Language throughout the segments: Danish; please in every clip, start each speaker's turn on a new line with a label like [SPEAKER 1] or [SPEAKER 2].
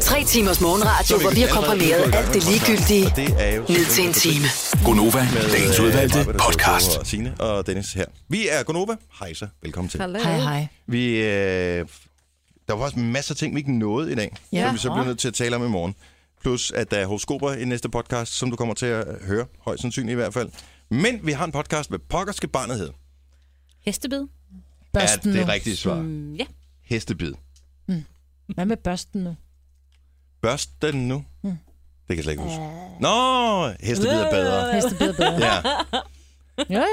[SPEAKER 1] Tre timers morgenradio, hvor vi har komprimeret alt det ligegyldige ned til en time.
[SPEAKER 2] Gonova,
[SPEAKER 3] Øh,
[SPEAKER 2] dagens udvalgte
[SPEAKER 3] Maja, der
[SPEAKER 2] podcast.
[SPEAKER 3] sidder og Signe og Dennis her. Vi er Gonova. Hej så. Velkommen til.
[SPEAKER 4] Øh,
[SPEAKER 5] Hallo.
[SPEAKER 1] Hej, hej.
[SPEAKER 3] Vi, øh, der var faktisk masser af ting, vi ikke nåede i dag, ja.
[SPEAKER 5] Ja.
[SPEAKER 3] som vi så bliver nødt til at tale om i morgen. Plus, at der er horoskoper i næste podcast, som du kommer til at øh, høre, højst sandsynligt i hvert fald. Men vi har en podcast, med pokker skal barnet hed?
[SPEAKER 4] Hestebid?
[SPEAKER 5] Børsten
[SPEAKER 3] er
[SPEAKER 5] nu.
[SPEAKER 3] det rigtige svar.
[SPEAKER 4] Mm, ja.
[SPEAKER 3] Hestebid.
[SPEAKER 5] Hvad med børsten nu?
[SPEAKER 3] Børst den nu.
[SPEAKER 5] Hmm.
[SPEAKER 3] Det kan jeg slet ikke huske. Nå, hestebid er bedre.
[SPEAKER 5] Hestebid er bedre.
[SPEAKER 3] Ja.
[SPEAKER 5] Ja, ja.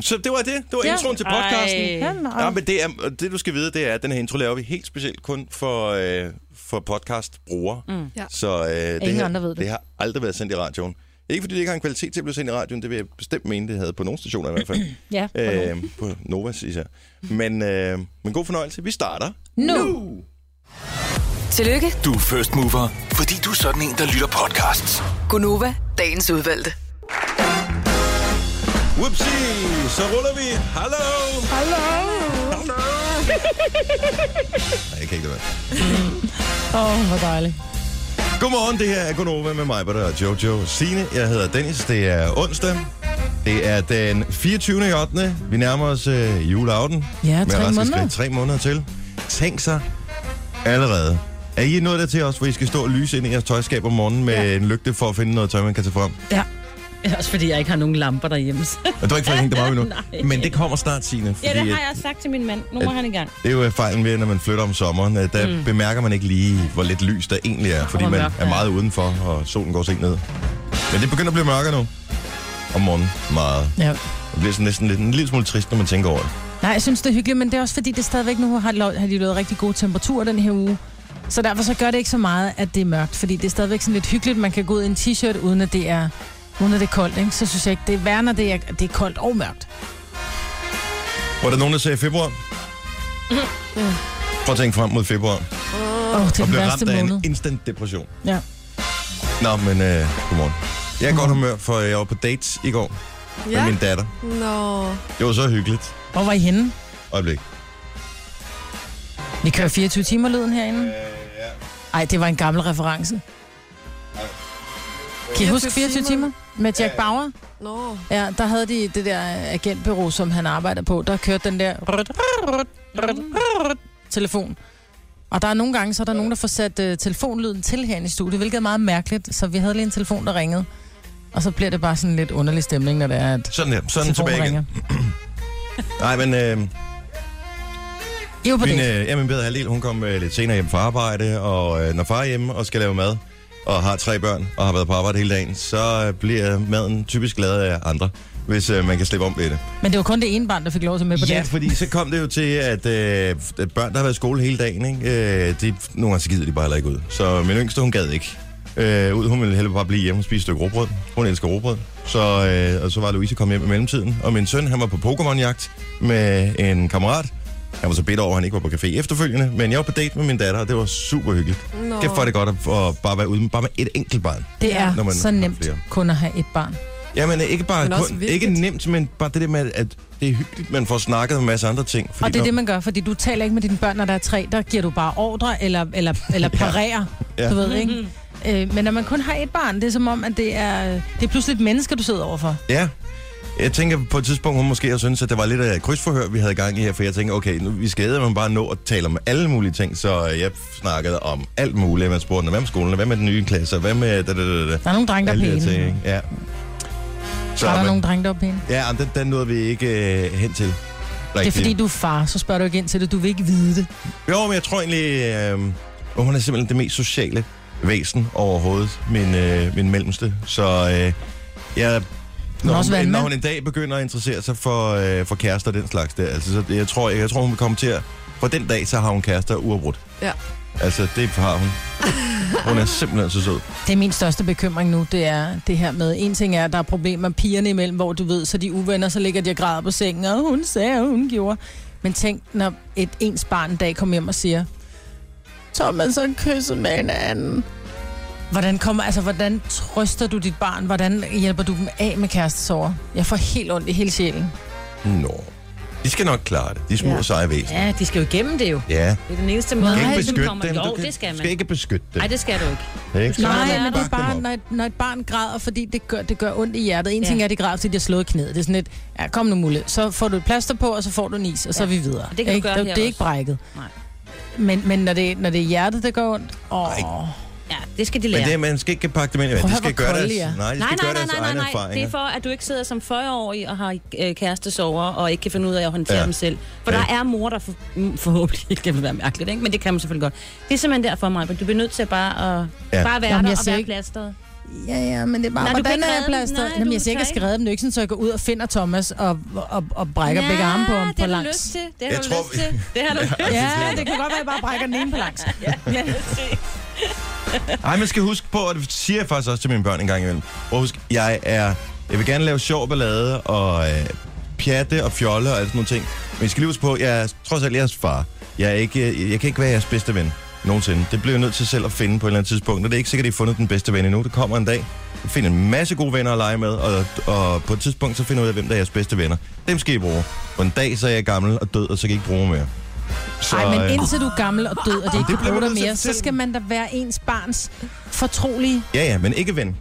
[SPEAKER 3] Så det var det. Det var
[SPEAKER 5] Ja.
[SPEAKER 3] introen til podcasten.
[SPEAKER 4] Ej.
[SPEAKER 5] Ja, nej.
[SPEAKER 3] Ja, men det, er, det, du skal vide, det er, at den her intro laver vi helt specielt kun for, øh, for podcast-brugere. Mm.
[SPEAKER 6] Ja.
[SPEAKER 3] Så øh, det,
[SPEAKER 5] ingen
[SPEAKER 3] her,
[SPEAKER 5] andre ved det.
[SPEAKER 3] det har aldrig været sendt i radioen. Ikke fordi det ikke har en kvalitet til at blive sendt i radioen, det vil jeg bestemt mene, det havde på nogle stationer i hvert fald.
[SPEAKER 5] ja. Øh.
[SPEAKER 3] øh, på Novas især. Men, øh, men god fornøjelse. Vi starter.
[SPEAKER 5] Nu.
[SPEAKER 1] Tillykke,
[SPEAKER 2] Du er first mover, fordi du er sådan en, der lytter podcasts.
[SPEAKER 1] Gunova, dagens udvalgte.
[SPEAKER 3] Whoopsie! Så ruller vi. Hallo! Hallo! Hallo! Nej, jeg kan ikke det være.
[SPEAKER 5] Åh, oh, hvor dejligt.
[SPEAKER 3] Godmorgen, det her er Gunova med mig, Britta og Jojo. Signe, jeg hedder Dennis, det er onsdag. Det er den 24. i 8. Vi nærmer os øh, juleaften.
[SPEAKER 5] Ja,
[SPEAKER 3] Med
[SPEAKER 5] tre
[SPEAKER 3] raske
[SPEAKER 5] måneder.
[SPEAKER 3] skridt. Tre måneder til. Tænk sig allerede. Er I nået der til os, hvor I skal stå og lyse ind i jeres tøjskab om morgenen med ja. en lygte for at finde noget tøj, man kan tage frem?
[SPEAKER 5] Ja.
[SPEAKER 4] Også fordi jeg ikke har nogen lamper derhjemme.
[SPEAKER 3] Og du har ikke fået hængt dem op endnu.
[SPEAKER 4] Nej.
[SPEAKER 3] Men det kommer snart, Signe.
[SPEAKER 4] ja, det
[SPEAKER 3] fordi,
[SPEAKER 4] har jeg også sagt til min mand. Nu må
[SPEAKER 3] at-
[SPEAKER 4] han i gang.
[SPEAKER 3] Det er jo fejlen ved, når man flytter om sommeren. at Der mm. bemærker man ikke lige, hvor lidt lys der egentlig er, fordi
[SPEAKER 4] hvor
[SPEAKER 3] man
[SPEAKER 4] mørkt
[SPEAKER 3] er
[SPEAKER 4] der er.
[SPEAKER 3] meget udenfor, og solen går sent ned. Men det begynder at blive mørkere nu. Om morgenen meget.
[SPEAKER 5] ja.
[SPEAKER 3] Det bliver sådan næsten lidt, en lille smule trist, når man tænker over det.
[SPEAKER 5] Nej, jeg synes, det er hyggeligt, men det er også fordi, det er stadigvæk nu har, lo- har de lavet rigtig gode temperaturer den her uge. Så derfor så gør det ikke så meget, at det er mørkt, fordi det er stadigvæk sådan lidt hyggeligt. Man kan gå ud i en t-shirt, uden at det er, uden at det er koldt, ikke? Så synes jeg ikke, det er værre, når det er, det er koldt og mørkt.
[SPEAKER 3] Var der nogen, der sagde februar? Prøv at tænke frem mod februar.
[SPEAKER 5] Åh, oh, det er
[SPEAKER 3] Og
[SPEAKER 5] den
[SPEAKER 3] blive
[SPEAKER 5] værste
[SPEAKER 3] ramt af
[SPEAKER 5] måned.
[SPEAKER 3] en instant depression.
[SPEAKER 5] Ja.
[SPEAKER 3] Nå, men øh, godmorgen. Jeg er i godt humør, for jeg var på dates i går ja.
[SPEAKER 6] Ja.
[SPEAKER 3] med min datter.
[SPEAKER 6] Nå.
[SPEAKER 3] Det var så hyggeligt.
[SPEAKER 5] Hvor var I henne?
[SPEAKER 3] Øjeblik.
[SPEAKER 5] Vi kører 24 timer lyden
[SPEAKER 3] Øh,
[SPEAKER 5] herinde. Nej, det var en gammel reference. Kan I huske 24 timer? Med Jack Bauer?
[SPEAKER 6] Nå.
[SPEAKER 5] Ja, der havde de det der agentbyrå, som han arbejder på. Der kørte den der rødt, rødt, rødt, rødt telefon. Og der er nogle gange, så er der nogen, der får sat øh, telefonlyden til herinde i studiet, hvilket er meget mærkeligt. Så vi havde lige en telefon, der ringede. Og så bliver det bare sådan lidt underlig stemning, når det er, at
[SPEAKER 3] Sådan der. Sådan
[SPEAKER 5] telefonen
[SPEAKER 3] tilbage igen.
[SPEAKER 5] ringer.
[SPEAKER 3] Nej, men øh,
[SPEAKER 5] I var på
[SPEAKER 3] Min,
[SPEAKER 5] det.
[SPEAKER 3] øh, ja, min bedre halvdel, hun kom øh, lidt senere hjem fra arbejde, og øh, når far er hjemme og skal lave mad, og har tre børn, og har været på arbejde hele dagen, så øh, bliver maden typisk lavet af andre, hvis øh, man kan slippe om ved det.
[SPEAKER 5] Men det var kun det ene barn, der fik lov til at med på
[SPEAKER 3] Ja,
[SPEAKER 5] det.
[SPEAKER 3] fordi så kom det jo til, at øh, at børn, der har været i skole hele dagen, ikke? Øh, de, nogle gange så gider de bare heller ikke ud. Så min yngste, hun gad ikke. Øh, ud, hun ville hellere bare blive hjemme og spise et stykke råbrød. Hun elsker råbrød. Så, øh, og så var Louise kommet hjem i mellemtiden. Og min søn, han var på Pokémon-jagt med en kammerat. Han var så bedt over, at han ikke var på café efterfølgende. Men jeg var på date med min datter, og det var super hyggeligt.
[SPEAKER 6] Nå.
[SPEAKER 3] Kæft for er det godt at, at bare være ude med, bare med et enkelt barn.
[SPEAKER 5] Det
[SPEAKER 3] Når
[SPEAKER 5] er
[SPEAKER 3] man
[SPEAKER 5] så
[SPEAKER 3] har
[SPEAKER 5] nemt
[SPEAKER 3] flere.
[SPEAKER 5] kun at have et barn.
[SPEAKER 3] Jamen ikke bare
[SPEAKER 6] Men også
[SPEAKER 3] kun,
[SPEAKER 6] vigtigt.
[SPEAKER 3] ikke nemt, men bare det der med, at det er hyggeligt, man får snakket om en masse andre ting. Fordi
[SPEAKER 5] Og det er
[SPEAKER 3] når-
[SPEAKER 5] det, man gør, fordi du taler ikke med dine børn, når der er tre. Der giver du bare ordre eller, eller, eller parerer,
[SPEAKER 3] Ja.
[SPEAKER 5] ja. du ved, ikke? Øh, men når man kun har et barn, det er som om, at det er, det er pludselig et menneske, du sidder overfor.
[SPEAKER 3] Ja. Jeg tænker på et tidspunkt, hun måske har syntes, at det var lidt af et krydsforhør, vi havde gang i her, for jeg tænker, okay, nu, vi skal man bare nå at tale om alle mulige ting, så øh, jeg snakkede om alt muligt. Man spurgte, hvad med skolen, hvad med den nye klasse, hvad med da, da, da, da.
[SPEAKER 5] Der er nogle drenge, der er
[SPEAKER 3] Alle de
[SPEAKER 5] pæne.
[SPEAKER 3] her ting, ikke? Ja.
[SPEAKER 5] Så er der
[SPEAKER 3] men-
[SPEAKER 5] nogle drenge, der er pæne.
[SPEAKER 3] Ja, men den, den nåede vi ikke øh, hen til.
[SPEAKER 5] Det er fordi, du er far, så spørger du ikke ind til det. Du vil ikke vide det.
[SPEAKER 3] Jo, men jeg tror egentlig, øh, hun er simpelthen det mest sociale væsen overhovedet, min, øh, min mellemste. Så øh, jeg, når,
[SPEAKER 5] også
[SPEAKER 3] hun,
[SPEAKER 5] vandmand.
[SPEAKER 3] når hun en dag begynder at interessere sig for, øh, for kærester og den slags der, altså, så jeg, tror, jeg, jeg tror, hun vil komme til at... For den dag, så har hun kærester uafbrudt.
[SPEAKER 6] Ja.
[SPEAKER 3] Altså, det har hun. Hun er simpelthen så sød.
[SPEAKER 5] Det er min største bekymring nu, det er det her med, en ting er, at der er problemer pigerne imellem, hvor du ved, så de er uvenner, så ligger de og græder på sengen, og hun sagde, og hun gjorde. Men tænk, når et ens barn en dag kommer hjem og siger, Thomas har kysset med en anden. Hvordan, kommer, altså, hvordan trøster du dit barn? Hvordan hjælper du dem af med kærestesover? Jeg får helt ondt i hele sjælen.
[SPEAKER 3] Nå. De skal nok klare det. De er små
[SPEAKER 4] Ja.
[SPEAKER 3] ja. seje væsener.
[SPEAKER 4] Ja, de skal jo igennem det jo.
[SPEAKER 3] Ja.
[SPEAKER 4] Det er den eneste måde.
[SPEAKER 3] Du kan
[SPEAKER 4] Nej,
[SPEAKER 3] ikke
[SPEAKER 4] du
[SPEAKER 3] beskytte
[SPEAKER 4] kommer-
[SPEAKER 3] dem.
[SPEAKER 4] Jo,
[SPEAKER 3] Du kan,
[SPEAKER 4] det skal
[SPEAKER 3] du
[SPEAKER 4] man.
[SPEAKER 3] skal ikke beskytte dem.
[SPEAKER 4] Nej, det skal du ikke.
[SPEAKER 3] Ikke?
[SPEAKER 4] Nej,
[SPEAKER 5] Nej,
[SPEAKER 4] ja.
[SPEAKER 5] men det er
[SPEAKER 3] Bak dem
[SPEAKER 5] bare,
[SPEAKER 3] op.
[SPEAKER 5] når, et- når et barn græder, fordi det gør, det gør ondt i hjertet. En
[SPEAKER 4] Ja.
[SPEAKER 5] ja. ting er, at det græder, fordi de har slået knæet. Det er sådan lidt, ja, kom nu, Mulle. Så får du et plaster på, og så får du en is, og så
[SPEAKER 4] Ja.
[SPEAKER 5] er vi videre.
[SPEAKER 4] Og det kan du
[SPEAKER 5] ikke?
[SPEAKER 4] gøre
[SPEAKER 5] det,
[SPEAKER 4] her
[SPEAKER 5] det er ikke
[SPEAKER 4] også.
[SPEAKER 5] brækket.
[SPEAKER 4] Nej.
[SPEAKER 5] Men, men når, det, når det er hjertet, der gør ondt, åh,
[SPEAKER 4] Ja, det skal de
[SPEAKER 3] Men
[SPEAKER 4] lære.
[SPEAKER 3] det, er, man skal ikke pakke dem ind i
[SPEAKER 5] Prøv
[SPEAKER 3] vand.
[SPEAKER 5] at
[SPEAKER 3] De skal
[SPEAKER 5] høre, hvor
[SPEAKER 3] gøre
[SPEAKER 5] kolde
[SPEAKER 3] deres,
[SPEAKER 5] I er.
[SPEAKER 3] nej, de
[SPEAKER 4] Nej,
[SPEAKER 3] skal gøre
[SPEAKER 4] nej, nej,
[SPEAKER 3] deres
[SPEAKER 4] nej,
[SPEAKER 3] egne
[SPEAKER 4] nej, nej. Det
[SPEAKER 3] erfaringer.
[SPEAKER 4] er for, at du ikke sidder som 40-årig og har øh, kæreste sover og ikke kan finde ud af at håndtere
[SPEAKER 3] Ja.
[SPEAKER 4] ja. dem selv. For
[SPEAKER 3] Ja.
[SPEAKER 4] ja. der er mor, der for, mm, forhåbentlig ikke, det vil være mærkeligt, ikke? men det kan man selvfølgelig godt. Det er simpelthen derfor, Maja, du bliver nødt til bare at
[SPEAKER 3] Ja.
[SPEAKER 4] ja. bare være
[SPEAKER 5] Jamen,
[SPEAKER 4] der
[SPEAKER 5] jeg
[SPEAKER 4] og
[SPEAKER 5] siger
[SPEAKER 4] være
[SPEAKER 5] ikke-
[SPEAKER 4] plasteret.
[SPEAKER 5] Ja, ja, men det er bare,
[SPEAKER 4] Nej,
[SPEAKER 5] Nej,
[SPEAKER 4] du kan
[SPEAKER 5] hvordan
[SPEAKER 4] ikke
[SPEAKER 5] er jeg
[SPEAKER 4] redde den.
[SPEAKER 5] plasteret?
[SPEAKER 4] Nej,
[SPEAKER 5] Jamen,
[SPEAKER 4] du
[SPEAKER 5] jeg siger ikke,
[SPEAKER 4] kan
[SPEAKER 5] at jeg skal
[SPEAKER 4] ikke.
[SPEAKER 5] redde den. Det er ikke sådan, så jeg går ud og finder Thomas og, og, og brækker ja, begge arme på ham
[SPEAKER 4] det
[SPEAKER 5] på
[SPEAKER 4] har du lyst
[SPEAKER 5] langs.
[SPEAKER 4] til. Det har
[SPEAKER 3] Jeg
[SPEAKER 4] du
[SPEAKER 3] tror,
[SPEAKER 4] lyst til. Det har du lyst til.
[SPEAKER 5] Ja, det kan godt være, at jeg bare brækker den ene på langs.
[SPEAKER 4] Ja, det
[SPEAKER 3] Ej, man skal huske på, og det siger jeg faktisk også til mine børn en gang imellem. Og husk, jeg er... Jeg vil gerne lave sjov ballade og øh, pjatte og fjolle og alt sådan nogle ting. Men I skal lige huske på, jeg er trods alt jeres far. Jeg, er ikke, øh, jeg kan ikke være jeres bedste ven nogensinde. Det bliver jeg nødt til selv at finde på et eller andet tidspunkt. Og det er ikke sikkert, at I har fundet den bedste ven endnu. Det kommer en dag. I finder en masse gode venner at lege med, og, og på et tidspunkt så finder jeg ud af, hvem der er jeres bedste venner. Dem skal I bruge. Og en dag så er jeg gammel og død, og så kan I ikke bruge mig mere. Så,
[SPEAKER 5] Nej, men
[SPEAKER 3] øh,
[SPEAKER 5] indtil du er gammel og død, og det ikke
[SPEAKER 3] Det
[SPEAKER 5] kan
[SPEAKER 3] bliver
[SPEAKER 5] bruge
[SPEAKER 3] man
[SPEAKER 5] dig
[SPEAKER 3] nødt til at
[SPEAKER 5] mere, så
[SPEAKER 3] fortælle
[SPEAKER 5] skal man da være ens barns fortrolige.
[SPEAKER 3] Ja, ja, men ikke ven.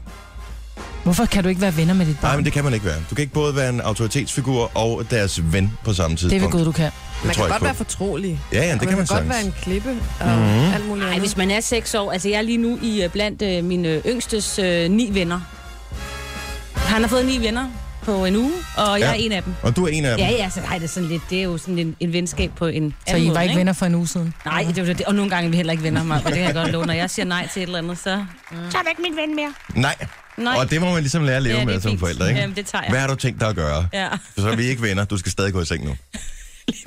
[SPEAKER 5] Hvorfor kan du ikke være venner med dit
[SPEAKER 3] Nej,
[SPEAKER 5] barn?
[SPEAKER 3] men det kan man ikke være. Du kan ikke både være en autoritetsfigur og deres ven på samme
[SPEAKER 5] det er
[SPEAKER 3] tidspunkt.
[SPEAKER 5] ved Gud, du kan.
[SPEAKER 3] Det
[SPEAKER 6] Man
[SPEAKER 3] tror
[SPEAKER 6] kan
[SPEAKER 3] jeg
[SPEAKER 6] godt
[SPEAKER 3] ikke
[SPEAKER 6] være
[SPEAKER 3] på.
[SPEAKER 6] fortrolig.
[SPEAKER 3] Ja, ja, det
[SPEAKER 6] og
[SPEAKER 3] kan man
[SPEAKER 6] man kan godt
[SPEAKER 3] sagtens. Mhm.
[SPEAKER 6] være en klippe og mm. alt muligt
[SPEAKER 4] Ej,
[SPEAKER 6] andet.
[SPEAKER 4] hvis man er 6 år, altså jeg er lige nu i øh, blandt øh, mine øh, yngstes øh, ni venner. Han har fået ni venner på en uge, og jeg
[SPEAKER 3] Ja.
[SPEAKER 4] er en af dem.
[SPEAKER 3] Og du er en af dem.
[SPEAKER 4] Ja, ja, så nej, det er sådan lidt, det er jo sådan en, en venskab på en
[SPEAKER 5] Så
[SPEAKER 4] anden
[SPEAKER 5] I var
[SPEAKER 4] måde,
[SPEAKER 5] ikke venner for en uge siden?
[SPEAKER 4] Nej, det er jo det. Og nogle gange er vi heller ikke venner, mig, og det kan jeg godt love. Når jeg siger nej til et eller andet, så... Mm. Så er du ikke min ven mere.
[SPEAKER 3] Nej.
[SPEAKER 4] Nej.
[SPEAKER 3] Og det må man ligesom lære at leve
[SPEAKER 4] Ja, det er
[SPEAKER 3] med som
[SPEAKER 4] fint.
[SPEAKER 3] forældre, ikke?
[SPEAKER 4] Jamen, det tager jeg.
[SPEAKER 3] Hvad har du tænkt dig at gøre?
[SPEAKER 4] Ja,
[SPEAKER 3] Så er vi ikke venner. Du skal stadig gå i seng nu.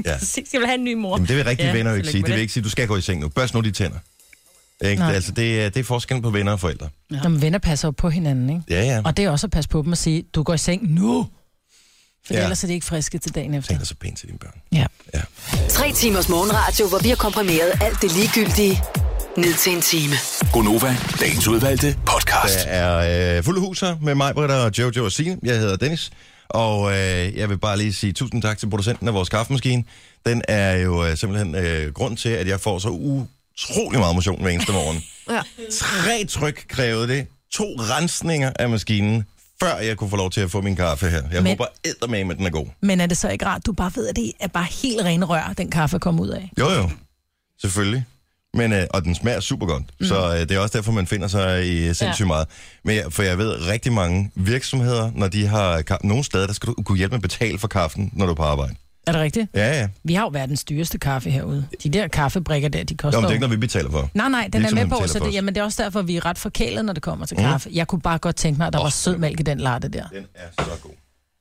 [SPEAKER 3] Ja.
[SPEAKER 4] præcis. Jeg vil have en ny mor.
[SPEAKER 3] Jamen, det vil rigtige
[SPEAKER 4] Ja,
[SPEAKER 3] ja, venner jo ikke
[SPEAKER 4] tillykke
[SPEAKER 3] sige.
[SPEAKER 4] med
[SPEAKER 3] Det vil
[SPEAKER 4] det.
[SPEAKER 3] ikke sige, du skal gå i seng nu. Børst nu de tænder. Ikke?
[SPEAKER 5] Nej.
[SPEAKER 3] Altså, det, er- det er forskellen på venner og forældre.
[SPEAKER 5] Når man venner passer jo på hinanden, ikke?
[SPEAKER 3] Ja, ja.
[SPEAKER 5] Og det er også at passe på dem og sige, du går i seng nu! For
[SPEAKER 3] Ja.
[SPEAKER 5] ja. ellers er det ikke friske til dagen efter.
[SPEAKER 3] Tænk dig så pænt til dine børn.
[SPEAKER 5] Ja.
[SPEAKER 3] Ja.
[SPEAKER 1] Tre timers morgenradio, hvor vi har komprimeret alt det ligegyldige ned til en time.
[SPEAKER 2] Gonova, dagens udvalgte podcast.
[SPEAKER 3] Der er øh, fulde hus her med mig, Britta og Jojo og Signe. Jeg hedder Dennis, og øh, jeg vil bare lige sige tusind tak til producenten af vores kaffemaskine. Den er jo øh, simpelthen øh, grund til, at jeg får så utrolig meget motion hver eneste morgen.
[SPEAKER 6] Ja.
[SPEAKER 3] Tre tryk krævede det. To rensninger af maskinen, før jeg kunne få lov til at få min kaffe her. Jeg Men...
[SPEAKER 5] Men-
[SPEAKER 3] håber eddermame, at den er god.
[SPEAKER 5] Men er det så ikke rart, du bare ved, at det er bare helt rene rør, den kaffe kom ud af?
[SPEAKER 3] Jo, jo. Selvfølgelig. Men, øh, og den smager super godt. Mm. Så øh, det er også derfor, man finder sig i øh, sindssygt ja. meget. Men, jeg- for jeg ved rigtig mange virksomheder, når de har ka- nogle steder, der skal du kunne hjælpe med at betale for kaffen, når du er på arbejde.
[SPEAKER 5] Er det rigtigt?
[SPEAKER 3] Ja, ja.
[SPEAKER 5] Vi har jo verdens dyreste kaffe herude. De der kaffebrikker der, de
[SPEAKER 3] Nå,
[SPEAKER 5] koster
[SPEAKER 3] men det er
[SPEAKER 5] jo-
[SPEAKER 3] ikke noget, vi betaler for.
[SPEAKER 5] Nej, nej, den er
[SPEAKER 3] Virksomheden
[SPEAKER 5] med på,
[SPEAKER 3] betaler for
[SPEAKER 5] så
[SPEAKER 3] Mhm. os.
[SPEAKER 5] det, jamen, det er også derfor, vi er ret forkælet, når det kommer til kaffe. Jeg kunne bare godt tænke mig, at der var sød mælk i den latte der.
[SPEAKER 3] Den er så god.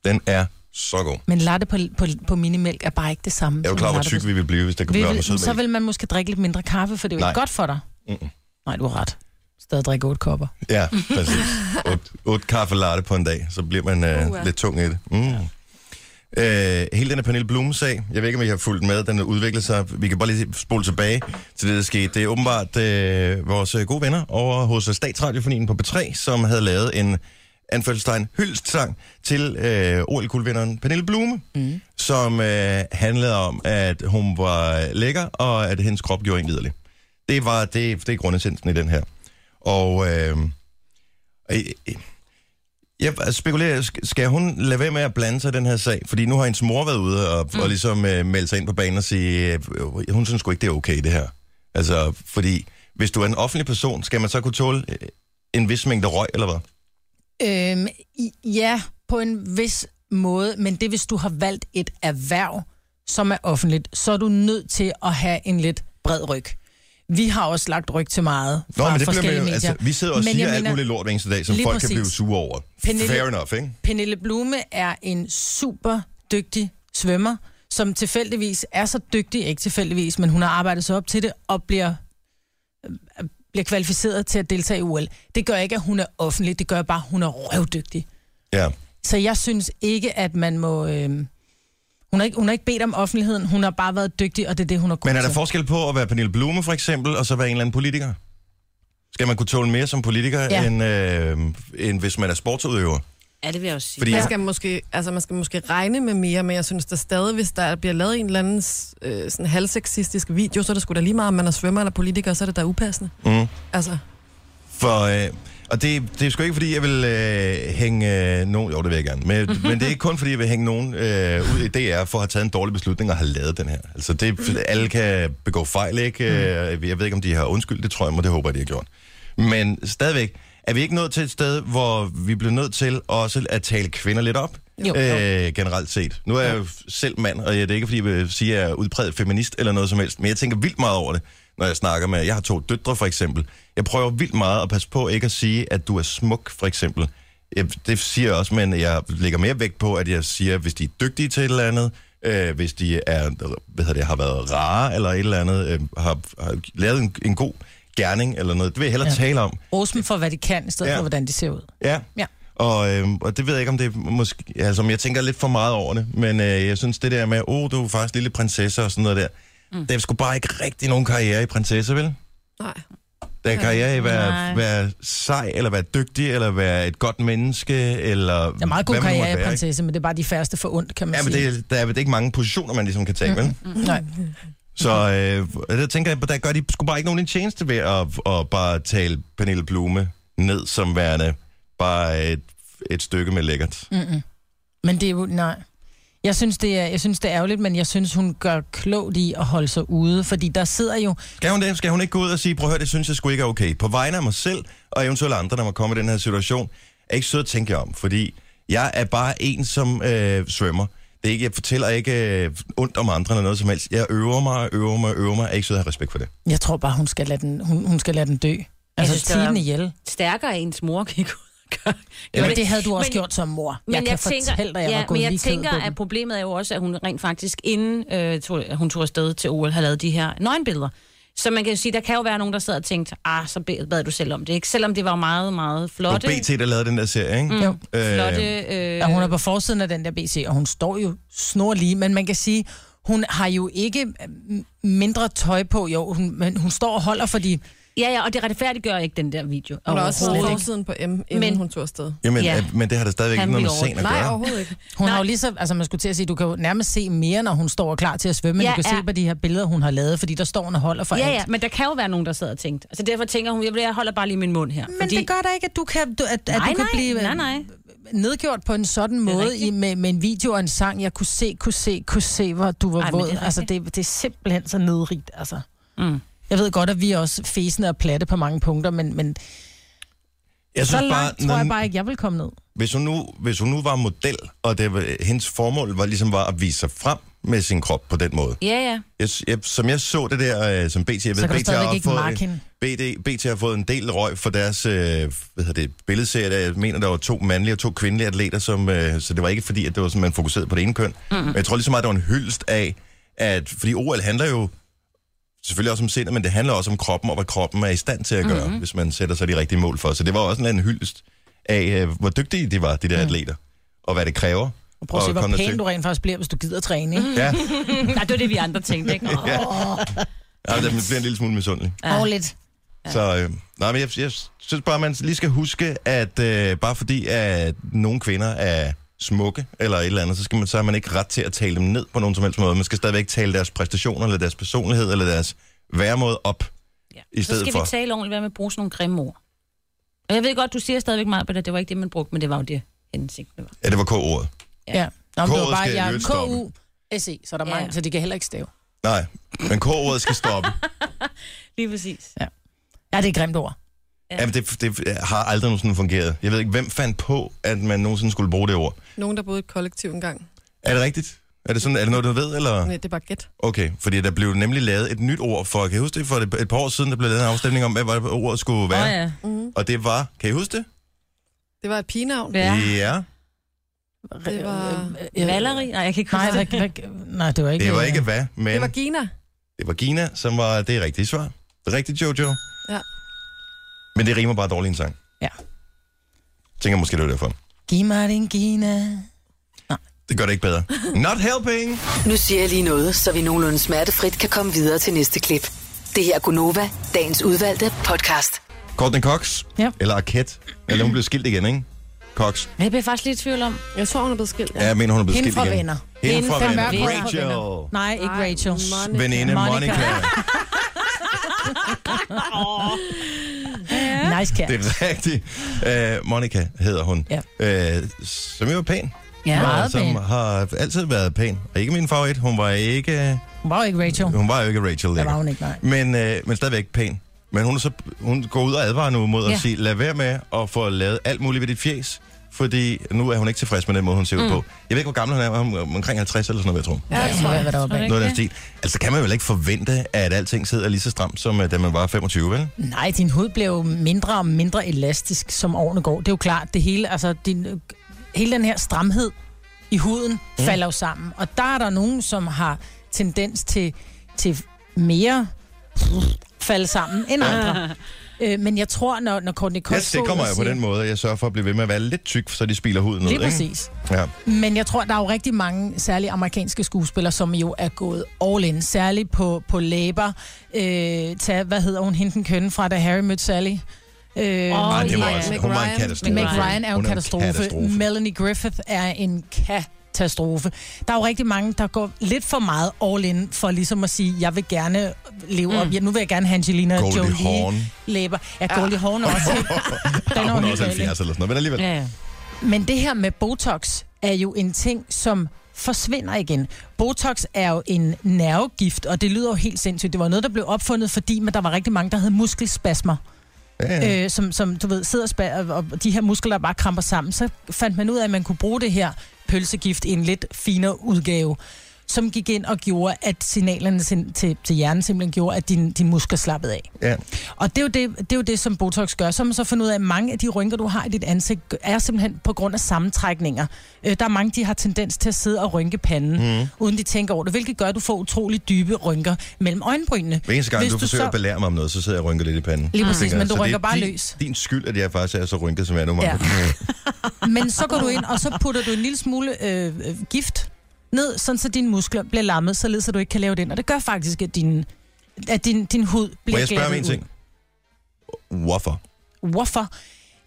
[SPEAKER 3] Den er så god.
[SPEAKER 5] Men latte på, på, på minimælk er bare ikke det samme.
[SPEAKER 3] Jeg er jo
[SPEAKER 5] som
[SPEAKER 3] klar,
[SPEAKER 5] en
[SPEAKER 3] hvor
[SPEAKER 5] latte
[SPEAKER 3] tyk
[SPEAKER 5] på-
[SPEAKER 3] vi vil blive, hvis der kunne
[SPEAKER 5] Vil-
[SPEAKER 3] blive op med
[SPEAKER 5] vil- Så
[SPEAKER 3] sødmælk.
[SPEAKER 5] vil man måske drikke lidt mindre kaffe, for det er jo
[SPEAKER 3] Nej.
[SPEAKER 5] ikke godt for dig.
[SPEAKER 3] Mm-mm.
[SPEAKER 5] Nej, du har ret. Stadig drikke otte kopper.
[SPEAKER 3] Ja, præcis. Otte ot kaffe latte på en dag, så bliver man øh,
[SPEAKER 6] Uha.
[SPEAKER 3] lidt tung i det. Mm. Øh, hele den her Pernille Blume-sag, jeg ved ikke, om I har fulgt med, den har udviklet sig. Vi kan bare lige spole tilbage til det, der skete. Det er åbenbart øh, vores øh, gode venner over hos øh, Statsradiofonien på B3, som havde lavet en anførselstegn hyldestsang til øh, OL-guldvinderen Pernille Blume, mm. som øh, handlede om, at hun var lækker, og at hendes krop gjorde en liderlig. Det var det, det er grundessensen i den her. Og øh, øh, øh, jeg altså, spekulerer, sk- skal hun lade være med at blande sig i den her sag? Fordi nu har hendes mor været ude og, mm. og ligesom øh, melde sig ind på banen og sige, øh, hun synes sgu ikke, det er okay det her. Altså, fordi hvis du er en offentlig person, skal man så kunne tåle øh, en vis mængde røg, eller hvad?
[SPEAKER 5] Øhm, i- ja, på en vis måde, men det er, hvis du har valgt et erhverv, som er offentligt, så er du nødt til at have en lidt bred ryg. Vi har også lagt ryg til meget fra
[SPEAKER 3] Nå, men det bliver
[SPEAKER 5] forskellige
[SPEAKER 3] man jo,
[SPEAKER 5] medier.
[SPEAKER 3] altså, vi sidder og
[SPEAKER 5] Men
[SPEAKER 3] men
[SPEAKER 5] jeg
[SPEAKER 3] siger alt
[SPEAKER 5] mener-
[SPEAKER 3] muligt lort hver eneste dag, som
[SPEAKER 5] Lige
[SPEAKER 3] folk kan
[SPEAKER 5] præcis.
[SPEAKER 3] blive sure over.
[SPEAKER 5] Pernille-
[SPEAKER 3] Fair enough, ikke?
[SPEAKER 5] Pernille Blume er en super dygtig svømmer, som tilfældigvis er så dygtig, ikke tilfældigvis, men hun har arbejdet sig op til det og bliver, øh, bliver kvalificeret til at deltage i OL. Det gør ikke, at hun er offentlig, det gør bare, at hun er røvdygtig.
[SPEAKER 3] Ja.
[SPEAKER 5] Så jeg synes ikke, at man må... Øh, hun, har ikke, hun har ikke bedt om offentligheden, hun har bare været dygtig, og det er det, hun er god
[SPEAKER 3] Men er der
[SPEAKER 5] til.
[SPEAKER 3] forskel på at være Pernille Blume, for eksempel, og så være en eller anden politiker? Skal man kunne tåle mere som politiker, ja.
[SPEAKER 5] Ja.
[SPEAKER 3] end, øh, end hvis man er sportsudøver?
[SPEAKER 4] Ja, det vil jeg også sige.
[SPEAKER 3] Fordi-
[SPEAKER 4] Fordi...
[SPEAKER 6] Man skal, måske, altså man skal måske regne med mere, men jeg synes der stadig, hvis der bliver lavet en eller anden øh, sådan halvsexistisk video, så er det sgu da lige meget, om man er svømmer eller politiker, så er det da upassende.
[SPEAKER 3] Mm.
[SPEAKER 6] Altså,
[SPEAKER 3] For, øh, og det, det er sgu ikke, fordi jeg vil øh, hænge øh, nogen... Jo, det vil jeg gerne. Men, men det er ikke kun, fordi jeg vil hænge nogen øh, ud i DR for at have taget en dårlig beslutning og have lavet den her. Altså, det, alle kan begå fejl, ikke? Øh, Jeg ved ikke, om de har undskyldt det, tror jeg, men det håber jeg, de har gjort. Men stadigvæk, er vi ikke nået til et sted, hvor vi bliver nødt til også at tale kvinder lidt op?
[SPEAKER 6] Jo.
[SPEAKER 3] øh, generelt set. Nu er jeg jo selv mand, og jeg, det er ikke, fordi jeg vil sige, at jeg er udpræget feminist eller noget som helst, men jeg tænker vildt meget over det, når jeg snakker med... Jeg har to døtre, for eksempel. Jeg prøver vildt meget at passe på ikke at sige, at du er smuk, for eksempel. Jeg, det siger jeg også, men jeg lægger mere vægt på, at jeg siger, hvis de er dygtige til et eller andet, øh, hvis de er, hvad hedder det, har været rare eller et eller andet, øh, har, har lavet en, en god gerning eller noget. Det vil jeg hellere ja.
[SPEAKER 5] Ja.
[SPEAKER 3] tale om.
[SPEAKER 5] Rose dem for, hvad de kan, i stedet
[SPEAKER 3] Ja.
[SPEAKER 5] ja. for, hvordan de ser ud.
[SPEAKER 3] Ja.
[SPEAKER 5] Ja.
[SPEAKER 3] Og, øh, og det ved jeg ikke, om det er måske... Altså, om jeg tænker lidt for meget over det, men øh, jeg synes, det der med, åh, oh, du er faktisk lille prinsesse og sådan noget der, mm. der er sgu bare ikke rigtig nogen karriere i prinsesse, vel?
[SPEAKER 6] nej.
[SPEAKER 3] Der er
[SPEAKER 5] Øh,
[SPEAKER 3] karriere i at være,
[SPEAKER 4] Nej.
[SPEAKER 3] være sej, eller være dygtig, eller være et godt menneske, eller...
[SPEAKER 5] Der er meget god
[SPEAKER 3] hvad man nu måtte
[SPEAKER 5] karriere i
[SPEAKER 3] være, ikke?
[SPEAKER 5] prinsesse, men det er bare de færreste for ondt, kan man
[SPEAKER 3] Ja, men
[SPEAKER 5] sige. Mm,
[SPEAKER 3] det, der er vel ikke mange positioner, man ligesom kan tage, vel?
[SPEAKER 5] Nej.
[SPEAKER 3] Så øh, der tænker jeg, der gør de sgu bare ikke nogen en tjeneste ved at, at bare tale Pernille Blume ned som værende bare et, et stykke med lækkert.
[SPEAKER 5] Men det er jo, nej. Jeg synes, det er, jeg synes, det er ærgerligt, men jeg synes, hun gør klogt i at holde sig ude, fordi der sidder jo...
[SPEAKER 3] Skal hun det? Skal hun ikke gå ud og sige, prøv at høre, det synes jeg sgu ikke er okay. På vegne af mig selv, og eventuelt andre, der må komme i den her situation, er ikke sød at tænke jer om, fordi jeg er bare en, som øh, svømmer. Det er ikke, jeg fortæller ikke øh, ondt om andre eller noget som helst. Jeg øver mig, og øver mig, og øver mig. Jeg er ikke sød at have respekt for det.
[SPEAKER 5] Jeg tror bare, hun skal lade den, hun, hun skal lade den dø. Altså,
[SPEAKER 4] synes,
[SPEAKER 5] synes,
[SPEAKER 4] det var-
[SPEAKER 5] tiden ihjel.
[SPEAKER 4] Stærkere ens mor kan ikke ud og gøre.
[SPEAKER 5] Ja,
[SPEAKER 4] gøre
[SPEAKER 5] men det havde du også
[SPEAKER 4] men-
[SPEAKER 5] gjort som mor. Jeg kan fortælle dig, jeg
[SPEAKER 4] ja,
[SPEAKER 5] var gået
[SPEAKER 4] men jeg
[SPEAKER 5] lige ked
[SPEAKER 4] tænker,
[SPEAKER 5] på den.
[SPEAKER 4] at problemet er jo også, at hun rent faktisk, inden øh, tog, hun tog afsted til OL, har lavet de her nøgenbilleder. Så man kan jo sige, der kan jo være nogen, der sidder og tænkte, ah, så be- bad du selv om det, ikke? Selvom det var meget, meget
[SPEAKER 3] Og
[SPEAKER 4] flotte,
[SPEAKER 3] BT, der lavede den der serie, ikke?
[SPEAKER 5] Jo.
[SPEAKER 3] Øh,
[SPEAKER 4] flotte øh,
[SPEAKER 5] Ja, hun er på forsiden af den der BC, og hun står jo snorlige, men man kan sige, hun har jo ikke øh, mindre tøj på, jo, hun, men hun står og holder, fordi...
[SPEAKER 4] Ja, ja, og det retfærdiggør ikke den der video.
[SPEAKER 6] Hun er også på
[SPEAKER 4] Overhovedet ikke.
[SPEAKER 6] forsiden på M, inden men,
[SPEAKER 4] Men-
[SPEAKER 6] hun tog afsted.
[SPEAKER 3] Jamen,
[SPEAKER 4] Ja.
[SPEAKER 3] ja. men det har da stadigvæk
[SPEAKER 4] Han
[SPEAKER 3] ikke noget med scenen
[SPEAKER 4] ville over-
[SPEAKER 3] at
[SPEAKER 6] Nej,
[SPEAKER 3] gøre.
[SPEAKER 6] overhovedet ikke.
[SPEAKER 5] Hun
[SPEAKER 4] Nej.
[SPEAKER 5] har jo lige så, altså man skulle til at sige, du kan jo nærmest se mere, når hun står og klar til at svømme, ja,
[SPEAKER 4] Ja,
[SPEAKER 5] du kan ja.
[SPEAKER 4] ja.
[SPEAKER 5] se på de her billeder, hun har lavet, fordi der står hun og holder for
[SPEAKER 4] Ja,
[SPEAKER 5] alt.
[SPEAKER 4] ja, men der kan jo være nogen, der sidder og tænker. Altså derfor tænker hun, jeg bliver- jeg holder bare lige min mund her.
[SPEAKER 5] Men det gør da ikke, at du kan, du- at, at
[SPEAKER 4] nej,
[SPEAKER 5] du kan
[SPEAKER 4] nej,
[SPEAKER 5] blive øh,
[SPEAKER 4] nej, nej.
[SPEAKER 5] nedgjort på en sådan måde i,
[SPEAKER 4] rigtigt.
[SPEAKER 5] med, med en video og en sang. Jeg kunne se, kunne se, kunne se, hvor du var
[SPEAKER 4] Ej,
[SPEAKER 5] Ej,
[SPEAKER 4] men
[SPEAKER 5] våd.
[SPEAKER 4] det er
[SPEAKER 5] Det altså, det, det er simpelthen så nedrigt, altså. Mm. Jeg ved godt, at vi er også fæsende og platte på mange punkter, men, men
[SPEAKER 3] Jeg
[SPEAKER 5] så
[SPEAKER 3] synes
[SPEAKER 5] langt
[SPEAKER 3] bare,
[SPEAKER 5] bare, tror
[SPEAKER 3] når-
[SPEAKER 5] jeg bare ikke, jeg vil komme ned.
[SPEAKER 3] hvis hun nu, hvis hun nu var model, og det, var- hendes formål var ligesom var at vise sig frem med sin krop på den måde,
[SPEAKER 4] Ja, ja.
[SPEAKER 3] Jeg, jeg, som jeg så det der, øh, som BT, jeg
[SPEAKER 5] Så
[SPEAKER 3] ved,
[SPEAKER 5] kan du
[SPEAKER 3] BT, har
[SPEAKER 5] stadigvæk ikke
[SPEAKER 3] fået,
[SPEAKER 5] marke hende.
[SPEAKER 3] BD, BT har fået en del røg for deres øh, hvad hedder det, billedserie. Der, jeg mener, der var to mandlige og to kvindelige atleter, som, øh, så det var ikke fordi, at det var sådan, man fokuserede på det ene køn. Mm. Men jeg tror lige så meget, det var en hyldest af, at, fordi OL handler jo selvfølgelig også om sindet, men det handler også om kroppen, og hvad kroppen er i stand til at gøre, mm-hmm. hvis man sætter sig de rigtige mål for. Så det var også en eller anden hyldest af, øh, hvor dygtige de var, de der mm. atleter, og hvad det kræver.
[SPEAKER 5] Og prøv at se,
[SPEAKER 3] at
[SPEAKER 5] hvor
[SPEAKER 3] komme dertil.
[SPEAKER 5] pæn du rent faktisk bliver, hvis du gider træne. Ikke?
[SPEAKER 3] Ja,
[SPEAKER 4] Nej, det var det, vi andre tænkte, ikke? Åh,
[SPEAKER 3] ja det bliver en lille smule misundelig.
[SPEAKER 4] Mm.
[SPEAKER 5] Ja. Og lidt.
[SPEAKER 3] Så øh, nej, men jeg, jeg synes bare, man lige skal huske, at øh, bare fordi at nogle kvinder er smukke eller et eller andet, så, skal man, så har man ikke ret til at tale dem ned på nogen som helst måde. Man skal stadigvæk tale deres præstationer, eller deres personlighed, eller deres væremåde op.
[SPEAKER 4] ja.
[SPEAKER 3] I
[SPEAKER 4] Så
[SPEAKER 3] stedet
[SPEAKER 4] skal
[SPEAKER 3] for-
[SPEAKER 4] vi tale ordentligt, hvad med at bruge sådan nogle grimme ord. Og jeg ved godt, du siger stadigvæk meget på det, det var ikke det, man brugte, men det var jo det, hensigten var.
[SPEAKER 3] Ja, det var K-ordet.
[SPEAKER 5] Ja. Nå, men det var
[SPEAKER 3] K'et
[SPEAKER 5] bare,
[SPEAKER 3] skal i
[SPEAKER 5] jeg er
[SPEAKER 3] øvrigt stoppe.
[SPEAKER 5] KU. SE, E, så er der
[SPEAKER 4] Ja.
[SPEAKER 5] mange, så de kan heller ikke stave.
[SPEAKER 3] Nej, men K-ordet skal stoppe.
[SPEAKER 4] Lige præcis.
[SPEAKER 5] Ja, det er et grimt ord.
[SPEAKER 3] ja. Jamen, det, det har aldrig nogensinde fungeret. Jeg ved ikke, hvem fandt på, at man nogensinde skulle bruge det ord.
[SPEAKER 6] Nogen, der boede i et kollektiv engang.
[SPEAKER 3] Er det rigtigt? Er det sådan, er det noget, du ved, eller?
[SPEAKER 6] Nej, det er bare gæt.
[SPEAKER 3] Okay, fordi der blev nemlig lavet et nyt ord for, kan I huske det, for et, et par år siden, der blev lavet en afstemning om, hvad var det, ordet skulle være?
[SPEAKER 4] Åh, ja.
[SPEAKER 3] Og det var, kan I huske det?
[SPEAKER 6] Det var et pigenavn.
[SPEAKER 4] Ja.
[SPEAKER 3] ja.
[SPEAKER 6] Det var-
[SPEAKER 5] Ja.
[SPEAKER 4] Valeri? Nej, jeg kan ikke
[SPEAKER 5] Nej,
[SPEAKER 4] huske
[SPEAKER 5] hvad,
[SPEAKER 4] det.
[SPEAKER 5] hvad, nej, det var ikke...
[SPEAKER 3] Det var ikke hvad, men
[SPEAKER 6] Det var Gina.
[SPEAKER 3] det var Gina, som var det rigtige svar. Det rigtige Jojo.
[SPEAKER 6] Ja.
[SPEAKER 3] Men det rimer bare dårligt i en sang.
[SPEAKER 5] Ja.
[SPEAKER 3] Tænker måske, det var derfor.
[SPEAKER 5] Giv mig din Gina.
[SPEAKER 3] Det gør det ikke bedre. Not helping!
[SPEAKER 1] Nu siger jeg lige noget, så vi nogenlunde smertefrit kan komme videre til næste klip. Det her er Gunova, dagens udvalgte podcast.
[SPEAKER 3] Courtney Cox,
[SPEAKER 5] Ja.
[SPEAKER 3] eller Arquette, eller hun blev skilt igen, ikke? Cox.
[SPEAKER 4] Jeg bliver faktisk lidt i tvivl om.
[SPEAKER 6] Jeg tror, hun er blevet skilt.
[SPEAKER 3] Ja, jeg mener, hun er blevet
[SPEAKER 5] Hende
[SPEAKER 3] skilt
[SPEAKER 5] fra
[SPEAKER 3] igen.
[SPEAKER 5] Venner.
[SPEAKER 3] Hende fra
[SPEAKER 5] Hende
[SPEAKER 3] venner.
[SPEAKER 5] fra Venner.
[SPEAKER 3] Rachel.
[SPEAKER 5] Nej, ikke Rachel.
[SPEAKER 3] Veninde
[SPEAKER 5] Monica.
[SPEAKER 3] Monica.
[SPEAKER 5] Nice cat.
[SPEAKER 3] Det er rigtigt. Uh, Monica hedder hun.
[SPEAKER 5] Ja.
[SPEAKER 3] Uh, som jo er pæn.
[SPEAKER 5] Ja, meget
[SPEAKER 3] som
[SPEAKER 5] pæn.
[SPEAKER 3] har altid været pæn. Og ikke min favorit. Hun var ikke, øh,
[SPEAKER 5] Hun var jo ikke Rachel.
[SPEAKER 3] hun var jo ikke Rachel
[SPEAKER 5] Det var
[SPEAKER 3] længere.
[SPEAKER 5] hun ikke, nej.
[SPEAKER 3] Men, øh, men stadigvæk pæn. Men hun, er så, hun går ud og advarer nu mod at
[SPEAKER 4] Ja.
[SPEAKER 3] sige, lad være med at få lavet alt muligt ved dit fjes. Fordi nu er hun ikke tilfreds med den måde, hun ser ud på. Jeg ved ikke, hvor gammel hun er. Hun er omkring 50 eller sådan noget, jeg tror.
[SPEAKER 5] Mm. Ja, jeg tror, jeg var deroppe. af.
[SPEAKER 3] Noget af den stil. Altså kan man vel ikke forvente, at alting sidder lige så stramt, som øh, da man var 25, vel?
[SPEAKER 5] Nej, din hud blev jo mindre og mindre elastisk, som årene går. Det er jo klart, det hele, altså din, hele den her stramhed i huden mm. falder jo sammen. Og der er der nogen, som har tendens til, til mere falde sammen end andre. øh, men jeg tror, når, når Courtney Cox...
[SPEAKER 3] Jeg sikrer mig jo på den måde, at jeg sørger for at blive ved med at være lidt tyk, så de spiler huden ud.
[SPEAKER 5] Lige
[SPEAKER 3] ikke?
[SPEAKER 5] præcis.
[SPEAKER 3] Ja.
[SPEAKER 5] Men jeg tror, der er jo rigtig mange, særligt amerikanske skuespillere, som jo er gået all in. Særligt på, på læber. Øh, tag, hvad hedder hun, hende den kønne fra, da Harry mødte Sally? Øh,
[SPEAKER 4] Åh,
[SPEAKER 3] Ej, det var
[SPEAKER 4] ja.
[SPEAKER 3] også,
[SPEAKER 6] Meg
[SPEAKER 3] hun var en
[SPEAKER 6] Ryan.
[SPEAKER 3] katastrofe.
[SPEAKER 5] Men Meg
[SPEAKER 4] Meg
[SPEAKER 5] Ryan er jo
[SPEAKER 3] Hun
[SPEAKER 5] en katastrofe. katastrofe. Melanie Griffith er en katastrofe. Der er jo rigtig mange, der går lidt for meget all in for ligesom at sige, jeg vil gerne leve mm. op. Ja, nu vil jeg gerne have Angelina
[SPEAKER 3] Goldie
[SPEAKER 5] Jolie
[SPEAKER 3] Hawn.
[SPEAKER 5] læber. Ja, Goldie Hawn er også.
[SPEAKER 3] Ja,
[SPEAKER 5] den er
[SPEAKER 3] hun er
[SPEAKER 5] jo helt
[SPEAKER 3] også
[SPEAKER 5] galt, ikke?
[SPEAKER 3] 70 eller sådan noget, men alligevel.
[SPEAKER 4] Ja, ja.
[SPEAKER 5] Men det her med Botox er jo en ting, som forsvinder igen. Botox er jo en nervegift, og det lyder jo helt sindssygt. Det var noget, der blev opfundet, fordi men der var rigtig mange, der havde muskelspasmer,
[SPEAKER 3] Ja, ja.
[SPEAKER 5] ja. øh, som, som du ved, sidder og, spa- og de her muskler bare kramper sammen. Så fandt man ud af, at man kunne bruge det her pølsegift i en lidt finere udgave, som gik ind og gjorde, at signalerne til, til, til hjernen simpelthen gjorde, at dine din muskler slappede af.
[SPEAKER 3] ja.
[SPEAKER 5] Og det er, jo det, det er jo det, som Botox gør. Så har man så fundet ud af, at mange af de rynker, du har i dit ansigt, er simpelthen på grund af sammentrækninger. Øh, der er mange, de har tendens til at sidde og rynke
[SPEAKER 3] Mhm.
[SPEAKER 5] panden, mm. uden de tænker over det, hvilket gør, at du får utrolig dybe rynker mellem øjenbrynene.
[SPEAKER 3] Hver eneste gang,
[SPEAKER 5] Hvis
[SPEAKER 3] du,
[SPEAKER 5] du
[SPEAKER 3] forsøger
[SPEAKER 5] så-
[SPEAKER 3] at belære mig om noget, så sidder jeg og rynker lidt i panden.
[SPEAKER 5] Lige præcis,
[SPEAKER 3] Tænker jeg,
[SPEAKER 5] men du
[SPEAKER 3] så det er
[SPEAKER 5] rynker bare
[SPEAKER 3] din,
[SPEAKER 5] løs.
[SPEAKER 3] Din skyld, at jeg faktisk er så rynket, som jeg er nu.
[SPEAKER 5] Ja.
[SPEAKER 3] Ja.
[SPEAKER 5] Men så går du ind, og så putter du en lille smule øh, øh, gift ned, sådan så dine muskler bliver lammet, således at du ikke kan lave det ind. Og det gør faktisk, at din, at din, din hud bliver
[SPEAKER 3] Må jeg spørge om
[SPEAKER 5] glattet
[SPEAKER 3] en
[SPEAKER 5] ud.
[SPEAKER 3] ting? Hvorfor?
[SPEAKER 5] Hvorfor?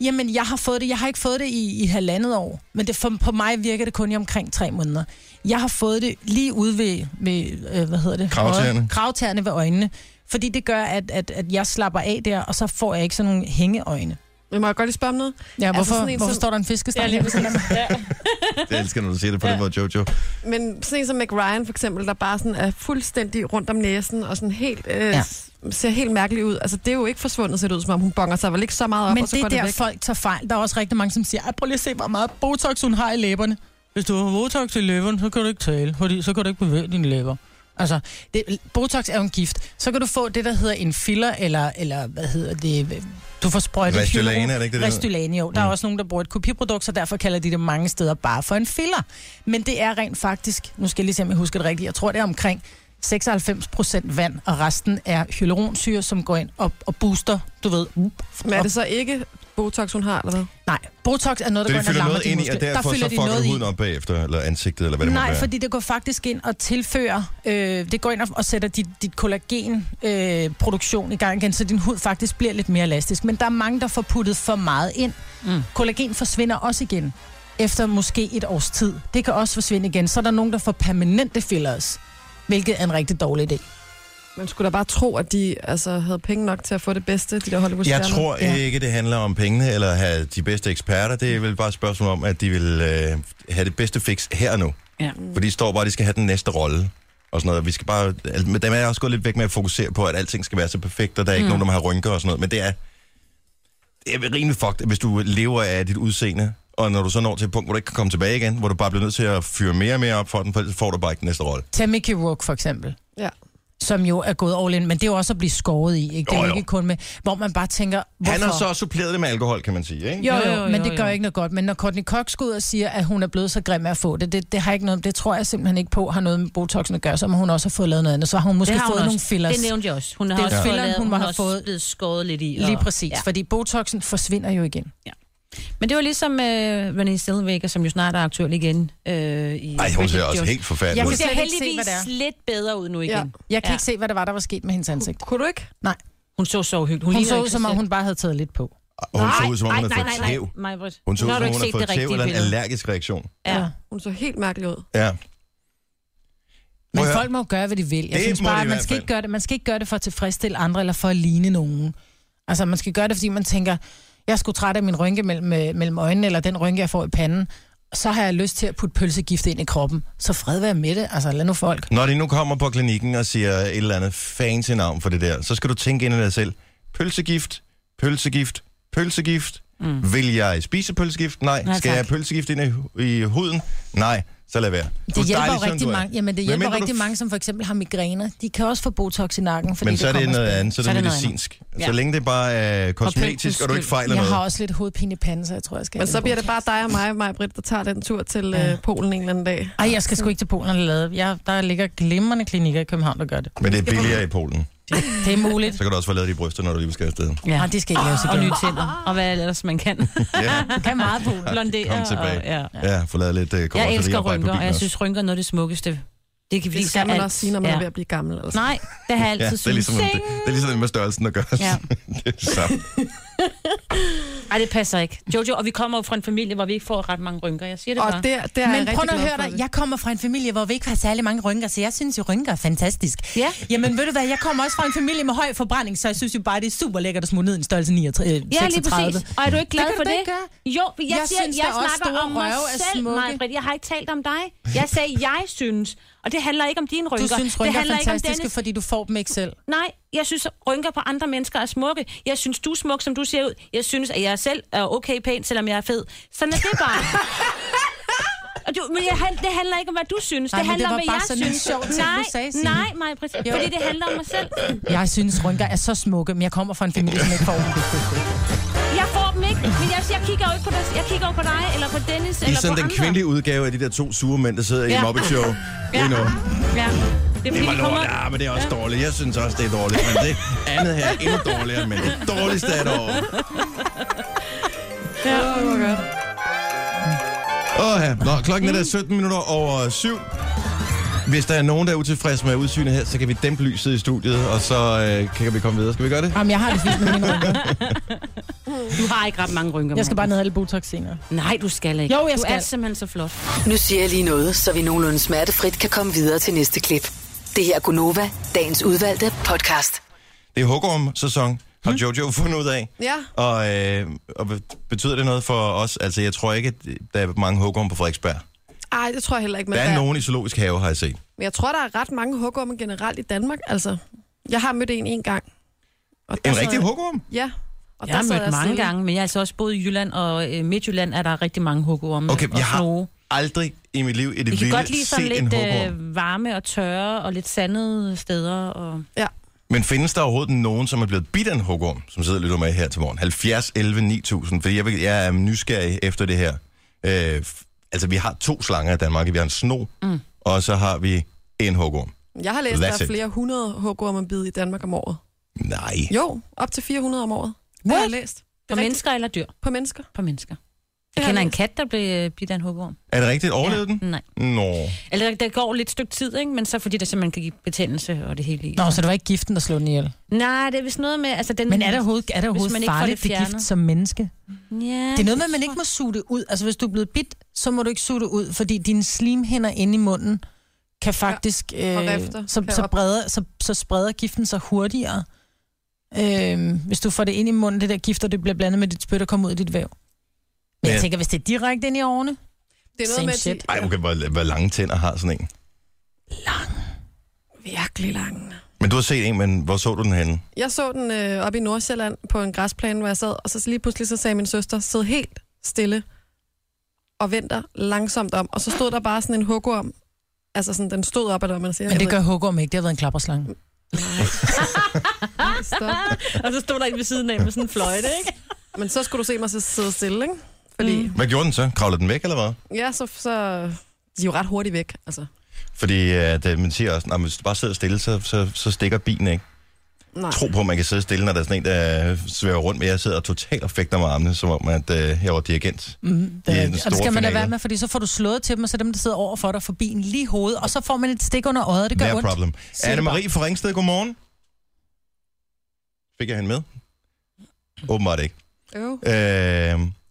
[SPEAKER 5] Jamen, jeg har fået det. Jeg har ikke fået det i, i halvandet år, men det, for, på mig virker det kun i omkring tre måneder. Jeg har fået det lige ude ved, ved øh, hvad hedder det?
[SPEAKER 3] Kravtæerne.
[SPEAKER 5] Øje- Kravtæerne ved øjnene. Fordi det gør, at, at, at jeg slapper af der, og så får jeg ikke sådan nogle hængeøjne.
[SPEAKER 6] Men må jeg godt lige spørge om noget?
[SPEAKER 5] Ja,
[SPEAKER 6] Altså
[SPEAKER 5] hvorfor,
[SPEAKER 6] sådan
[SPEAKER 5] altså
[SPEAKER 6] en,
[SPEAKER 5] hvorfor
[SPEAKER 6] som-
[SPEAKER 5] står der en fiskestang? Ja,
[SPEAKER 3] Jeg elsker, når du siger det på
[SPEAKER 4] Ja.
[SPEAKER 3] den måde, Jojo.
[SPEAKER 6] Men sådan en som Meg Ryan for eksempel, der bare sådan er fuldstændig rundt om næsen og sådan helt, øh,
[SPEAKER 5] Ja.
[SPEAKER 6] ja. ser helt mærkelig ud. Altså det er jo ikke forsvundet, ser det ud som om hun bonger sig vel ikke så meget op,
[SPEAKER 5] men
[SPEAKER 6] og så
[SPEAKER 5] det
[SPEAKER 6] går
[SPEAKER 5] er der,
[SPEAKER 6] det væk.
[SPEAKER 5] folk tager fejl. Der er også rigtig mange, som siger, "Ej, prøv lige at se, hvor meget Botox hun har i læberne. Hvis du har Botox i læberne, så kan du ikke tale, fordi så kan du ikke bevæge dine læber. Altså, det, Botox er jo en gift. Så kan du få det, der hedder en filler, eller, eller hvad hedder det, du får sprøjtet
[SPEAKER 3] Restylane,
[SPEAKER 5] Hyalu-
[SPEAKER 3] er det ikke det, det hedder? Mm.
[SPEAKER 5] Restylane, jo. Der er også nogen, der bruger et kopiprodukt, så derfor kalder de det mange steder bare for en filler. Men det er rent faktisk, nu skal jeg lige se, om jeg husker det rigtigt, jeg tror, det er omkring 96 procent vand, og resten er hyaluronsyre, som går ind og, og booster, du ved,
[SPEAKER 6] Men er det så ikke Botox, hun har, eller hvad?
[SPEAKER 5] Nej, Botox er noget,
[SPEAKER 3] Så de
[SPEAKER 5] der går ind
[SPEAKER 3] fylder
[SPEAKER 5] og lammer
[SPEAKER 3] noget
[SPEAKER 5] dine
[SPEAKER 3] ind i, og
[SPEAKER 5] muskler.
[SPEAKER 3] derfor så
[SPEAKER 5] de
[SPEAKER 3] fucker
[SPEAKER 5] noget
[SPEAKER 3] du
[SPEAKER 5] i.
[SPEAKER 3] huden op bagefter, eller ansigtet, eller hvad det måtte
[SPEAKER 5] Nej,
[SPEAKER 3] være.
[SPEAKER 5] fordi det går faktisk ind og tilfører, øh, det går ind og, og sætter dit, dit kollagenproduktion øh, produktion i gang igen, så din hud faktisk bliver lidt mere elastisk. Men der er mange, der får puttet for meget ind. Mm. Kollagen forsvinder også igen efter måske et års tid. Det kan også forsvinde igen. Så er der nogen, der får permanente fillers, hvilket er en rigtig dårlig idé.
[SPEAKER 6] Man skulle da bare tro, at de altså, havde penge nok til at få det bedste, de der hollywood
[SPEAKER 3] Jeg tror
[SPEAKER 5] Ja.
[SPEAKER 3] ikke, det handler om pengene eller at have de bedste eksperter. Det er vel bare et spørgsmål om, at de vil øh, have det bedste fix her og nu.
[SPEAKER 4] Ja.
[SPEAKER 3] For de står bare, at de skal have den næste rolle. Og sådan noget. Vi skal bare, al- men der er jeg også gået lidt væk med at fokusere på, at alting skal være så perfekt, og der er ikke mm. nogen, der har rynker og sådan noget. Men det er, det er rimelig fucked, hvis du lever af dit udseende, og når du så når til et punkt, hvor du ikke kan komme tilbage igen, hvor du bare bliver nødt til at fyre mere og mere op for den, for ellers får du bare ikke den næste rolle.
[SPEAKER 5] Tag Mickey Rourke for eksempel.
[SPEAKER 6] Ja.
[SPEAKER 5] som jo er gået all in, men det er jo også at blive skåret i, ikke? Det er
[SPEAKER 3] Jo,
[SPEAKER 5] jo
[SPEAKER 3] jo.
[SPEAKER 5] ikke kun med, hvor man bare tænker, hvorfor?
[SPEAKER 3] Han har så suppleret det med alkohol, kan man sige, ikke?
[SPEAKER 5] Jo,
[SPEAKER 4] Jo,
[SPEAKER 5] jo,
[SPEAKER 4] jo,
[SPEAKER 5] men
[SPEAKER 4] jo,
[SPEAKER 5] det gør
[SPEAKER 4] jo.
[SPEAKER 5] ikke noget godt. Men når Courtney Cox går ud og siger, at hun er blevet så grim af at få det, det, det har ikke noget, det tror jeg simpelthen ikke på, har noget med Botoxen at gøre, så må hun også har fået lavet noget andet. Så har hun måske
[SPEAKER 4] Det har
[SPEAKER 5] fået
[SPEAKER 4] hun også.
[SPEAKER 5] nogle fillers.
[SPEAKER 4] Det nævnte jeg også. Hun har
[SPEAKER 5] Det er
[SPEAKER 4] også fået
[SPEAKER 5] filleren,
[SPEAKER 4] lavet-
[SPEAKER 5] hun må
[SPEAKER 4] har
[SPEAKER 5] have
[SPEAKER 4] også
[SPEAKER 5] fået-
[SPEAKER 4] blevet skåret lidt i.
[SPEAKER 5] Lige
[SPEAKER 4] og-
[SPEAKER 5] præcis, ja. fordi Botoxen forsvinder jo igen.
[SPEAKER 4] Men det var ligesom øh, Renée Zellweger, som jo snart er aktuel igen. Øh, i
[SPEAKER 3] Nej, hun ser
[SPEAKER 4] Bridget
[SPEAKER 3] også
[SPEAKER 4] Jones.
[SPEAKER 3] helt forfærdelig
[SPEAKER 5] Jeg
[SPEAKER 3] ud.
[SPEAKER 4] Hun
[SPEAKER 5] kan slet
[SPEAKER 4] ser
[SPEAKER 5] ikke se, hvad
[SPEAKER 4] heldigvis
[SPEAKER 5] det er.
[SPEAKER 4] se, lidt bedre ud nu igen.
[SPEAKER 6] Ja.
[SPEAKER 4] Ja.
[SPEAKER 5] Jeg kan ja. ikke se, hvad der var, der var sket med hendes ansigt.
[SPEAKER 6] Kunne du ikke?
[SPEAKER 5] Nej,
[SPEAKER 4] Hun så så hyggeligt.
[SPEAKER 5] hun
[SPEAKER 4] ligner
[SPEAKER 5] så
[SPEAKER 4] ikke
[SPEAKER 5] ud
[SPEAKER 4] sig
[SPEAKER 5] som om,
[SPEAKER 4] selv.
[SPEAKER 5] hun bare havde taget lidt på.
[SPEAKER 3] Og hun så
[SPEAKER 4] Nej,
[SPEAKER 3] ud, som om hun havde
[SPEAKER 4] nej, nej,
[SPEAKER 3] fået
[SPEAKER 4] nej, nej.
[SPEAKER 3] tæv.
[SPEAKER 4] Majbrit.
[SPEAKER 3] Hun så
[SPEAKER 4] Nu
[SPEAKER 3] ud,
[SPEAKER 4] har
[SPEAKER 3] som
[SPEAKER 4] du
[SPEAKER 3] om
[SPEAKER 4] ikke
[SPEAKER 3] hun havde
[SPEAKER 4] set
[SPEAKER 3] fået
[SPEAKER 4] det
[SPEAKER 3] tæv
[SPEAKER 4] rigtige
[SPEAKER 3] eller en
[SPEAKER 4] billede.
[SPEAKER 3] allergisk reaktion.
[SPEAKER 4] Ja.
[SPEAKER 6] Hun så helt mærkelig ud.
[SPEAKER 3] Ja.
[SPEAKER 5] Men
[SPEAKER 3] Prøv at høre.
[SPEAKER 5] folk må jo gøre, hvad de vil. Jeg
[SPEAKER 3] Det
[SPEAKER 5] det synes
[SPEAKER 3] må de
[SPEAKER 5] bare,
[SPEAKER 3] i
[SPEAKER 5] at man
[SPEAKER 3] hvert
[SPEAKER 5] skal,
[SPEAKER 3] fald.
[SPEAKER 5] ikke gøre det, man skal ikke gøre det for at tilfredsstille andre, eller for at ligne nogen. Altså, man skal gøre det, fordi man tænker, jeg skulle træt af min rynke mellem, øh, mellem øjnene, eller den rynke, jeg får i panden. Så har jeg lyst til at putte pølsegift ind i kroppen. Så fred være med det. Altså, lad nu folk.
[SPEAKER 3] Når de nu kommer på klinikken og siger et eller andet fancy navn for det der, så skal du tænke ind i dig selv. Pølsegift, pølsegift, pølsegift. Mm. Vil jeg spise pølsegift? Nej.
[SPEAKER 4] Nej,
[SPEAKER 3] skal
[SPEAKER 4] tak.
[SPEAKER 3] jeg have pølsegift ind i, hu- i huden? Nej. Så lad være. Du er
[SPEAKER 5] Det hjælper
[SPEAKER 3] dejlig,
[SPEAKER 5] jo
[SPEAKER 3] sådan
[SPEAKER 5] rigtig
[SPEAKER 3] du er.
[SPEAKER 5] mange, jamen,
[SPEAKER 3] Hvad
[SPEAKER 5] det hjælper
[SPEAKER 3] mindre
[SPEAKER 5] rigtig
[SPEAKER 3] du-
[SPEAKER 5] mange, som for eksempel har migræner. De kan også få botox i nakken, fordi
[SPEAKER 3] Men så er det
[SPEAKER 5] kommer
[SPEAKER 3] noget
[SPEAKER 5] af
[SPEAKER 3] andet, så er
[SPEAKER 4] Så er
[SPEAKER 3] det
[SPEAKER 4] det noget
[SPEAKER 3] medicinsk.
[SPEAKER 4] andet.
[SPEAKER 3] Så
[SPEAKER 4] Ja.
[SPEAKER 3] længe det bare er kosmetisk, og du ikke fejler
[SPEAKER 5] jeg
[SPEAKER 3] noget.
[SPEAKER 5] har også lidt hovedpine i panden, så jeg tror, jeg skal
[SPEAKER 6] Men
[SPEAKER 5] have
[SPEAKER 6] så
[SPEAKER 5] lidt
[SPEAKER 6] bliver det
[SPEAKER 5] botox.
[SPEAKER 6] bare dig og mig, og mig Britt, der tager den tur til
[SPEAKER 5] Ja.
[SPEAKER 6] øh, Polen en eller anden dag.
[SPEAKER 5] Ej, jeg skal sgu ikke til Polen og lade. Jeg, der ligger glimrende klinikker i København, der gør det.
[SPEAKER 3] Men det er billigere i Polen.
[SPEAKER 5] Det er muligt.
[SPEAKER 3] Så kan du også få lavet de bryster, når du lige skal afsted.
[SPEAKER 4] Ja.
[SPEAKER 5] Nej, Ah, det skal ikke laves
[SPEAKER 4] Og nye
[SPEAKER 5] igen.
[SPEAKER 4] tænder. Og hvad ellers man kan.
[SPEAKER 3] Ja,
[SPEAKER 5] Du kan meget på det.
[SPEAKER 4] Blondere.
[SPEAKER 3] Kom tilbage.
[SPEAKER 4] Og, ja.
[SPEAKER 3] ja få lavet lidt uh,
[SPEAKER 4] Jeg elsker rynker, og jeg synes, rynker er noget af det smukkeste. Det kan
[SPEAKER 6] Det
[SPEAKER 4] vise
[SPEAKER 6] skal man
[SPEAKER 4] alt.
[SPEAKER 6] også sige, når man er ved at blive gammel. Altså.
[SPEAKER 4] Nej, det har jeg altid
[SPEAKER 3] Ja, det er ligesom, det,
[SPEAKER 4] syntes.
[SPEAKER 3] det er ligesom det med størrelsen at gøre. Ja.
[SPEAKER 4] Ja.
[SPEAKER 3] det er det samme.
[SPEAKER 4] Ej, det passer ikke. Jojo, og vi kommer jo fra en familie, hvor vi ikke får ret mange rynker. Jeg siger det
[SPEAKER 6] Og
[SPEAKER 4] bare.
[SPEAKER 6] der, der er jeg
[SPEAKER 5] Men prøv
[SPEAKER 6] rigtig
[SPEAKER 5] nu at
[SPEAKER 6] glad
[SPEAKER 5] høre
[SPEAKER 6] for
[SPEAKER 5] dig,
[SPEAKER 6] det.
[SPEAKER 5] jeg kommer fra en familie, hvor vi ikke har særlig mange rynker, så jeg synes jo, rynker er fantastisk.
[SPEAKER 4] Ja.
[SPEAKER 5] Jamen ved du hvad, jeg kommer også fra en familie med høj forbrænding, så jeg synes jo bare, det er super lækkert at smutte ned i en størrelse 39.
[SPEAKER 4] Ja, lige præcis. Og er du ikke glad
[SPEAKER 5] Det kan du
[SPEAKER 4] for
[SPEAKER 5] da
[SPEAKER 4] det?
[SPEAKER 5] ikke gøre.
[SPEAKER 4] Jo, jeg,
[SPEAKER 5] Jeg
[SPEAKER 4] jeg siger,
[SPEAKER 5] synes
[SPEAKER 4] jeg
[SPEAKER 5] da også,
[SPEAKER 4] snakker
[SPEAKER 5] store
[SPEAKER 4] om mig
[SPEAKER 5] røve er
[SPEAKER 4] selv,
[SPEAKER 5] smukke.
[SPEAKER 4] Majbrit. Jeg har ikke talt om dig. Jeg sagde, jeg synes. Og det handler ikke om dine rynker.
[SPEAKER 5] Du synes,
[SPEAKER 4] det
[SPEAKER 5] rynker er
[SPEAKER 4] handler ikke om
[SPEAKER 5] fantastiske,
[SPEAKER 4] Dennis.
[SPEAKER 5] fordi du får dem ikke selv.
[SPEAKER 4] Nej, jeg synes, at rynker på andre mennesker er smukke. Jeg synes, du er smuk, som du ser ud. Jeg synes, at jeg selv er okay pæn, selvom jeg er fed. Sådan er det bare. Og du, men jeg, han- det handler ikke om, hvad du synes.
[SPEAKER 5] Nej,
[SPEAKER 4] det
[SPEAKER 5] men
[SPEAKER 4] handler
[SPEAKER 5] det var
[SPEAKER 4] om, hvad
[SPEAKER 5] bare
[SPEAKER 4] jeg
[SPEAKER 5] sådan en
[SPEAKER 4] synes.
[SPEAKER 5] sjov ting, du
[SPEAKER 4] nej,
[SPEAKER 5] sagde, Signe.
[SPEAKER 4] nej, Majbrit. Fordi det handler om mig selv.
[SPEAKER 5] Jeg synes, rynker er så smukke, men jeg kommer fra en familie, som ikke får dem.
[SPEAKER 4] Jeg får dem ikke, men jeg, jeg kigger jo ikke på dig. Jeg kigger jo på dig, eller på Dennis,
[SPEAKER 3] I
[SPEAKER 4] eller på
[SPEAKER 3] sådan den
[SPEAKER 4] andre.
[SPEAKER 3] kvindelige udgave af de der to sure mænd, der sidder ja. i
[SPEAKER 4] Ja.
[SPEAKER 3] mobbeshow. Ja. Endnu.
[SPEAKER 4] Ja. Det er fordi,
[SPEAKER 3] Det var
[SPEAKER 4] de kommer...
[SPEAKER 3] lort, ja, men det er også dårligt. Jeg synes også, det er dårligt, men det andet her er endnu dårligere, men det dårligste er dog.
[SPEAKER 6] Ja, oh det var godt.
[SPEAKER 3] Åh, ja. Nå, klokken er der 17 minutter over 7. Hvis der er nogen, der er utilfredse med udsynet her, så kan vi dæmpe lyset i studiet, og så øh, kan vi komme videre. Skal vi gøre det?
[SPEAKER 5] Jamen, jeg har det fint med mine rynker.
[SPEAKER 4] Du har ikke ret mange rynker,
[SPEAKER 5] Jeg skal bare ned og have lidt botox senere.
[SPEAKER 4] mand. Nej, du skal ikke.
[SPEAKER 5] Jo, jeg
[SPEAKER 4] Du er
[SPEAKER 5] skal.
[SPEAKER 4] simpelthen så flot.
[SPEAKER 1] Nu siger jeg lige noget, så vi nogenlunde smertefrit kan komme videre til næste klip. Det her er Gunova, dagens udvalgte podcast.
[SPEAKER 3] Det er hugorm-sæson, har Jojo fundet ud af.
[SPEAKER 6] Ja.
[SPEAKER 3] Og, øh, og be- betyder det noget for os? Altså, jeg tror ikke, at der er mange hugorm på Frederiksberg.
[SPEAKER 6] Ej, det tror jeg heller ikke. Men
[SPEAKER 3] Der er nogen i zoologisk have, har jeg set.
[SPEAKER 6] Men jeg tror, der er ret mange hugorme generelt i Danmark. Altså, jeg har mødt en en gang. Og der
[SPEAKER 3] En
[SPEAKER 6] sad
[SPEAKER 3] rigtig
[SPEAKER 6] jeg-
[SPEAKER 3] hugorm?
[SPEAKER 6] Ja. Og
[SPEAKER 4] Jeg har
[SPEAKER 6] sad
[SPEAKER 4] mødt mange
[SPEAKER 6] stille.
[SPEAKER 4] gange, men jeg har altså også boet i Jylland, og øh, Midtjylland er der rigtig mange hukkeorme
[SPEAKER 3] Okay,
[SPEAKER 4] og
[SPEAKER 3] jeg har
[SPEAKER 4] snoge.
[SPEAKER 3] aldrig i mit liv i det
[SPEAKER 4] Vi Mm. kan godt
[SPEAKER 3] vilde
[SPEAKER 4] lide sådan
[SPEAKER 3] set en
[SPEAKER 4] lidt
[SPEAKER 3] hugorm.
[SPEAKER 4] øh, varme og tørre og lidt sandede steder. Og...
[SPEAKER 6] Ja.
[SPEAKER 3] Men findes der overhovedet nogen, som er blevet bidt af en hugorm, som sidder og lytter med her til morgen? 70, 11, 9000, fordi jeg, vil- jeg er nysgerrig efter det her. Øh, f- altså, vi har to slanger i Danmark. Vi har en sno, mm. og så har vi en hugorm.
[SPEAKER 6] Jeg har læst,
[SPEAKER 3] That's
[SPEAKER 6] der
[SPEAKER 3] it.
[SPEAKER 6] er flere hundrede hugorme bid i Danmark om året.
[SPEAKER 3] Nej.
[SPEAKER 6] Jo, op til 400 om året. Det har jeg læst. Det
[SPEAKER 4] På
[SPEAKER 6] er rigtigt.
[SPEAKER 4] mennesker eller dyr?
[SPEAKER 6] På mennesker.
[SPEAKER 4] På mennesker.
[SPEAKER 6] Det
[SPEAKER 4] Jeg
[SPEAKER 6] har
[SPEAKER 4] kender en
[SPEAKER 6] læst.
[SPEAKER 4] kat, der blev øh, bidt af en hukkeorm.
[SPEAKER 3] Er det rigtigt? Overlevede den?
[SPEAKER 4] Nej.
[SPEAKER 3] Nå.
[SPEAKER 4] Eller der- der går lidt stykke tid, ikke? men så fordi der simpelthen kan give betændelse og det hele i.
[SPEAKER 5] Nå, så det var ikke giften, der slog den ihjel.
[SPEAKER 4] Nej, det er vist noget med... Altså, den...
[SPEAKER 5] Men er der overhovedet, er der
[SPEAKER 4] Mm. Hvis man
[SPEAKER 5] overhovedet
[SPEAKER 4] ikke får
[SPEAKER 5] farligt
[SPEAKER 4] det
[SPEAKER 5] det gift
[SPEAKER 4] fjernet.
[SPEAKER 5] som menneske?
[SPEAKER 4] Ja,
[SPEAKER 5] Det er noget med, at man ikke må suge det ud. Altså, hvis du er blevet bidt, så må du ikke suge det ud, fordi dine slimhinder inde i munden kan faktisk...
[SPEAKER 6] og
[SPEAKER 5] øh,
[SPEAKER 6] rifter
[SPEAKER 5] så,
[SPEAKER 6] kan
[SPEAKER 5] så,
[SPEAKER 6] op-
[SPEAKER 5] breder, så, så spreder giften sig hurtigere. Øh, hvis du får det ind i munden, det der gift, og det bliver blandet med dit spyt og kommer ud i dit væv. Men
[SPEAKER 3] Ja.
[SPEAKER 5] jeg tænker, hvis det er direkte ind i årene...
[SPEAKER 6] Det er
[SPEAKER 5] Same
[SPEAKER 6] noget med,
[SPEAKER 5] shit.
[SPEAKER 6] at
[SPEAKER 3] Ej, okay, hvor, hvor lange tænder har sådan en?
[SPEAKER 6] de... virkelig lange.
[SPEAKER 3] Men du har set en, men hvor så du den henne?
[SPEAKER 6] Jeg så den øh, oppe i Nordsjælland på en græsplæne, hvor jeg sad, og så lige pludselig så sagde min søster, sid helt stille og venter langsomt om. Og så stod der bare sådan en hugorm. Altså sådan, den stod op, eller hvad man siger.
[SPEAKER 5] Men det
[SPEAKER 6] Jeg
[SPEAKER 5] gør hugorm ikke, det har været en klapperslange.
[SPEAKER 6] ved ikke, stop.
[SPEAKER 4] Og så stod der en ved siden af med sådan en fløjte, ikke?
[SPEAKER 6] Men så skulle du se mig så sidde stille, ikke? Fordi, mm.
[SPEAKER 3] Hvad gjorde den så? Kravlede den væk, eller hvad?
[SPEAKER 6] ja, så, så... De er jo ret hurtigt væk, altså.
[SPEAKER 3] Fordi at, øh, man siger også, at hvis du bare sidder stille, så, så, så stikker bilen, ikke?
[SPEAKER 6] Nej.
[SPEAKER 3] Tro på, at man kan sidde stille, når der er sådan en, der øh, svæver rundt, men jeg sidder totalt og fægter med armene, som om at, øh, jeg var dirigent.
[SPEAKER 5] Mm,
[SPEAKER 3] Det er den
[SPEAKER 5] og det
[SPEAKER 3] store
[SPEAKER 5] skal man lade
[SPEAKER 3] finale.
[SPEAKER 5] være med, fordi så får du slået til dem, og så er dem, der sidder over for dig, forbi en lige i hovedet, og så får man et stik under øjet, det gør
[SPEAKER 3] No
[SPEAKER 5] ondt.
[SPEAKER 3] problem.
[SPEAKER 5] Se det
[SPEAKER 3] Anne-Marie fra Ringsted, godmorgen. Fik jeg hende med? Åbenbart ikke.
[SPEAKER 6] Øv.
[SPEAKER 3] Øh,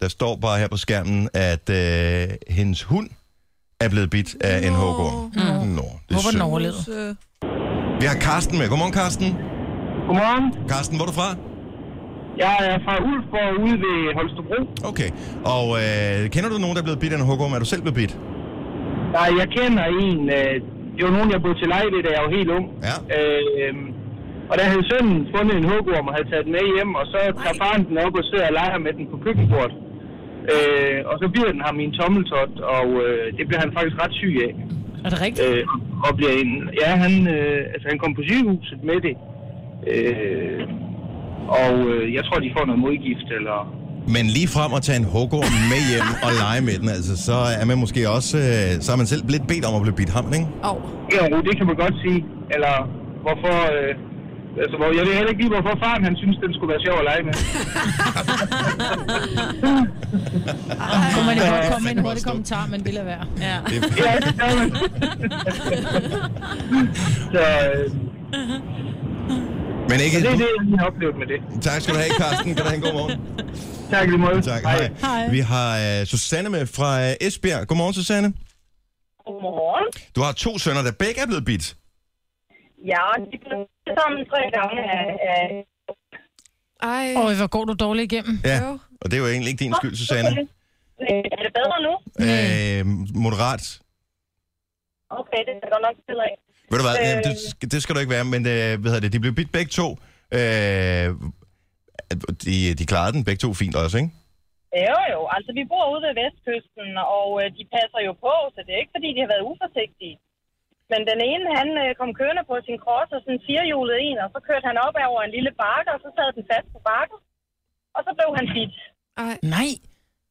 [SPEAKER 3] der står bare her på skærmen, at øh, hendes hund er blevet bidt af en
[SPEAKER 6] Nå.
[SPEAKER 3] hugorm. Mm. Nå, det er
[SPEAKER 5] Håber den
[SPEAKER 3] synd.
[SPEAKER 5] overlevede.
[SPEAKER 6] Så-
[SPEAKER 3] Vi har Karsten med. Godmorgen, Karsten.
[SPEAKER 7] Godmorgen.
[SPEAKER 3] Karsten, hvor er du fra?
[SPEAKER 7] Jeg er fra Ulfborg ude ved Holstebro.
[SPEAKER 3] Okay. Og øh, kender du nogen, der er blevet bidt af en hugorm? Er du selv blevet bidt?
[SPEAKER 7] Nej, jeg kender en. øh, Det var nogen, jeg blev til leje ved, da jeg var helt ung.
[SPEAKER 3] Ja.
[SPEAKER 7] Øh, og der havde sønnen fundet en hugorm og havde taget den med hjem, og så tager faren den op og sidder og leger med den på køkkenbordet. Øh, og så bider den ham i en tommeltot, og øh, det blev han faktisk ret syg af.
[SPEAKER 5] Er det rigtigt?
[SPEAKER 7] Øh, og bliver en, ja, han, øh, altså, han kom på sygehuset med det. Øh, og øh, jeg tror, de får noget modgift, eller...
[SPEAKER 3] Men lige frem at tage en hugorm med hjem og lege med den, altså, så er man måske også... Øh, så er man selv lidt bedt om at blive bidt ham, ikke?
[SPEAKER 6] Au.
[SPEAKER 7] Ja, jo, det kan man godt sige. Eller hvorfor... Øh, altså, hvor, jeg ved heller ikke lige, hvorfor faren han synes, den skulle være sjov at lege med.
[SPEAKER 5] Kunne man jo
[SPEAKER 3] Ja,
[SPEAKER 5] godt komme med
[SPEAKER 3] fandme
[SPEAKER 5] en
[SPEAKER 3] også
[SPEAKER 5] hurtig
[SPEAKER 3] dumt.
[SPEAKER 5] kommentar, men ville lade være. Ja.
[SPEAKER 7] ja, det gør man. Så øh,
[SPEAKER 3] Men ikke...
[SPEAKER 7] det er det, jeg har oplevet med det.
[SPEAKER 3] Tak skal du have, Karsten. Kan du have en god morgen?
[SPEAKER 7] Tak i lige måde.
[SPEAKER 3] Tak.
[SPEAKER 7] Hej.
[SPEAKER 3] Hej.
[SPEAKER 5] Hej.
[SPEAKER 3] Vi har øh, Susanne med fra øh, Esbjerg. Godmorgen, Susanne.
[SPEAKER 8] Godmorgen.
[SPEAKER 3] Du har to sønner, der begge er blevet bidt.
[SPEAKER 8] Ja, de blev sammen tre gange af, af
[SPEAKER 6] Ej.
[SPEAKER 5] Åh, hvor går du dårligt igennem.
[SPEAKER 3] Ja.
[SPEAKER 6] Jo.
[SPEAKER 3] Og det er jo egentlig ikke din skyld, Susanne.
[SPEAKER 8] Øh, Er det bedre nu?
[SPEAKER 3] Øh, moderat.
[SPEAKER 8] Okay, det er godt nok til af.
[SPEAKER 3] Ved du hvad,
[SPEAKER 8] Øh.
[SPEAKER 3] øh. det, skal- det skal du ikke være, men øh, hvad hedder det, de blev bidt begge to. Øh, de, de klarede den begge to fint også, ikke?
[SPEAKER 8] Jo, jo. Altså, vi bor ude ved Vestkysten, og øh, de passer jo på, så det er ikke, fordi de har været uforsigtige. Men den ene, han øh, kom kørende på sin cross og sådan firehjulet en, og så kørte han op over en lille bakke, og så sad den fast på bakken, og så blev han bidt.
[SPEAKER 6] Ej.
[SPEAKER 5] Nej.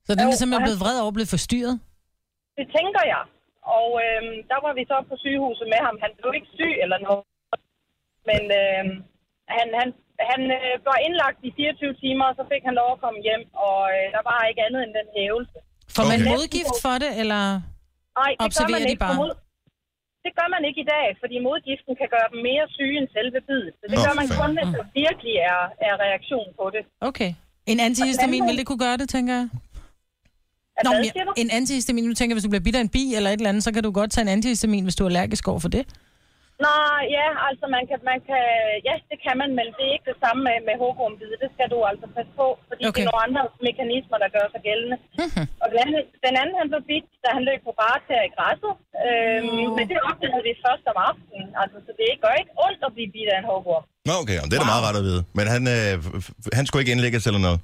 [SPEAKER 5] Så den
[SPEAKER 8] Jo,
[SPEAKER 5] er simpelthen
[SPEAKER 8] og-
[SPEAKER 5] blevet vred over og blevet forstyrret.
[SPEAKER 8] Det tænker jeg. Og øh, der var vi så på sygehuset med ham. Han blev ikke syg eller noget. Men øh, han, han, han øh, var indlagt i 24 timer, og så fik han lov at komme hjem. Og øh, der var ikke andet end den hævelse.
[SPEAKER 5] Får man
[SPEAKER 3] Okay.
[SPEAKER 5] modgift for det, eller?
[SPEAKER 8] Nej, det gør
[SPEAKER 5] Observerer
[SPEAKER 8] man
[SPEAKER 5] de
[SPEAKER 8] ikke.
[SPEAKER 5] bare?
[SPEAKER 8] Mod- det gør man ikke i dag, fordi modgiften kan gøre dem mere syge end selve bidet. Så det
[SPEAKER 3] Nå,
[SPEAKER 8] gør man
[SPEAKER 3] for
[SPEAKER 8] kun,
[SPEAKER 3] fanden.
[SPEAKER 8] hvis der virkelig er, er reaktion på det.
[SPEAKER 5] Okay. En antihistamin ville det kunne gøre det, tænker jeg.
[SPEAKER 8] Er
[SPEAKER 5] Nå,
[SPEAKER 8] hvad,
[SPEAKER 5] men jeg-
[SPEAKER 8] siger du?
[SPEAKER 5] en antihistamin, nu tænker jeg, hvis du bliver bidt af en bi eller et eller andet, så kan du godt tage en antihistamin, hvis du er allergisk over for det.
[SPEAKER 8] Nej, ja, altså man kan, man kan, ja, det kan man, men det er ikke det samme med, med hukombid. Det skal du altså passe på, fordi okay. det
[SPEAKER 5] Okay.
[SPEAKER 8] er nogle andre mekanismer, der gør sig gældende.
[SPEAKER 9] Mhm.
[SPEAKER 8] og den anden, den anden, han blev bidt, da han løb på bare til i græsset. Øhm,
[SPEAKER 9] Mm.
[SPEAKER 8] Men det opdagede vi først om aftenen. Altså, så det gør ikke ondt at blive bidt af en hukum.
[SPEAKER 3] Nå, okay, jamen, det er da meget rart at vide. Men han, øh, f- f- han skulle ikke indlægges eller noget.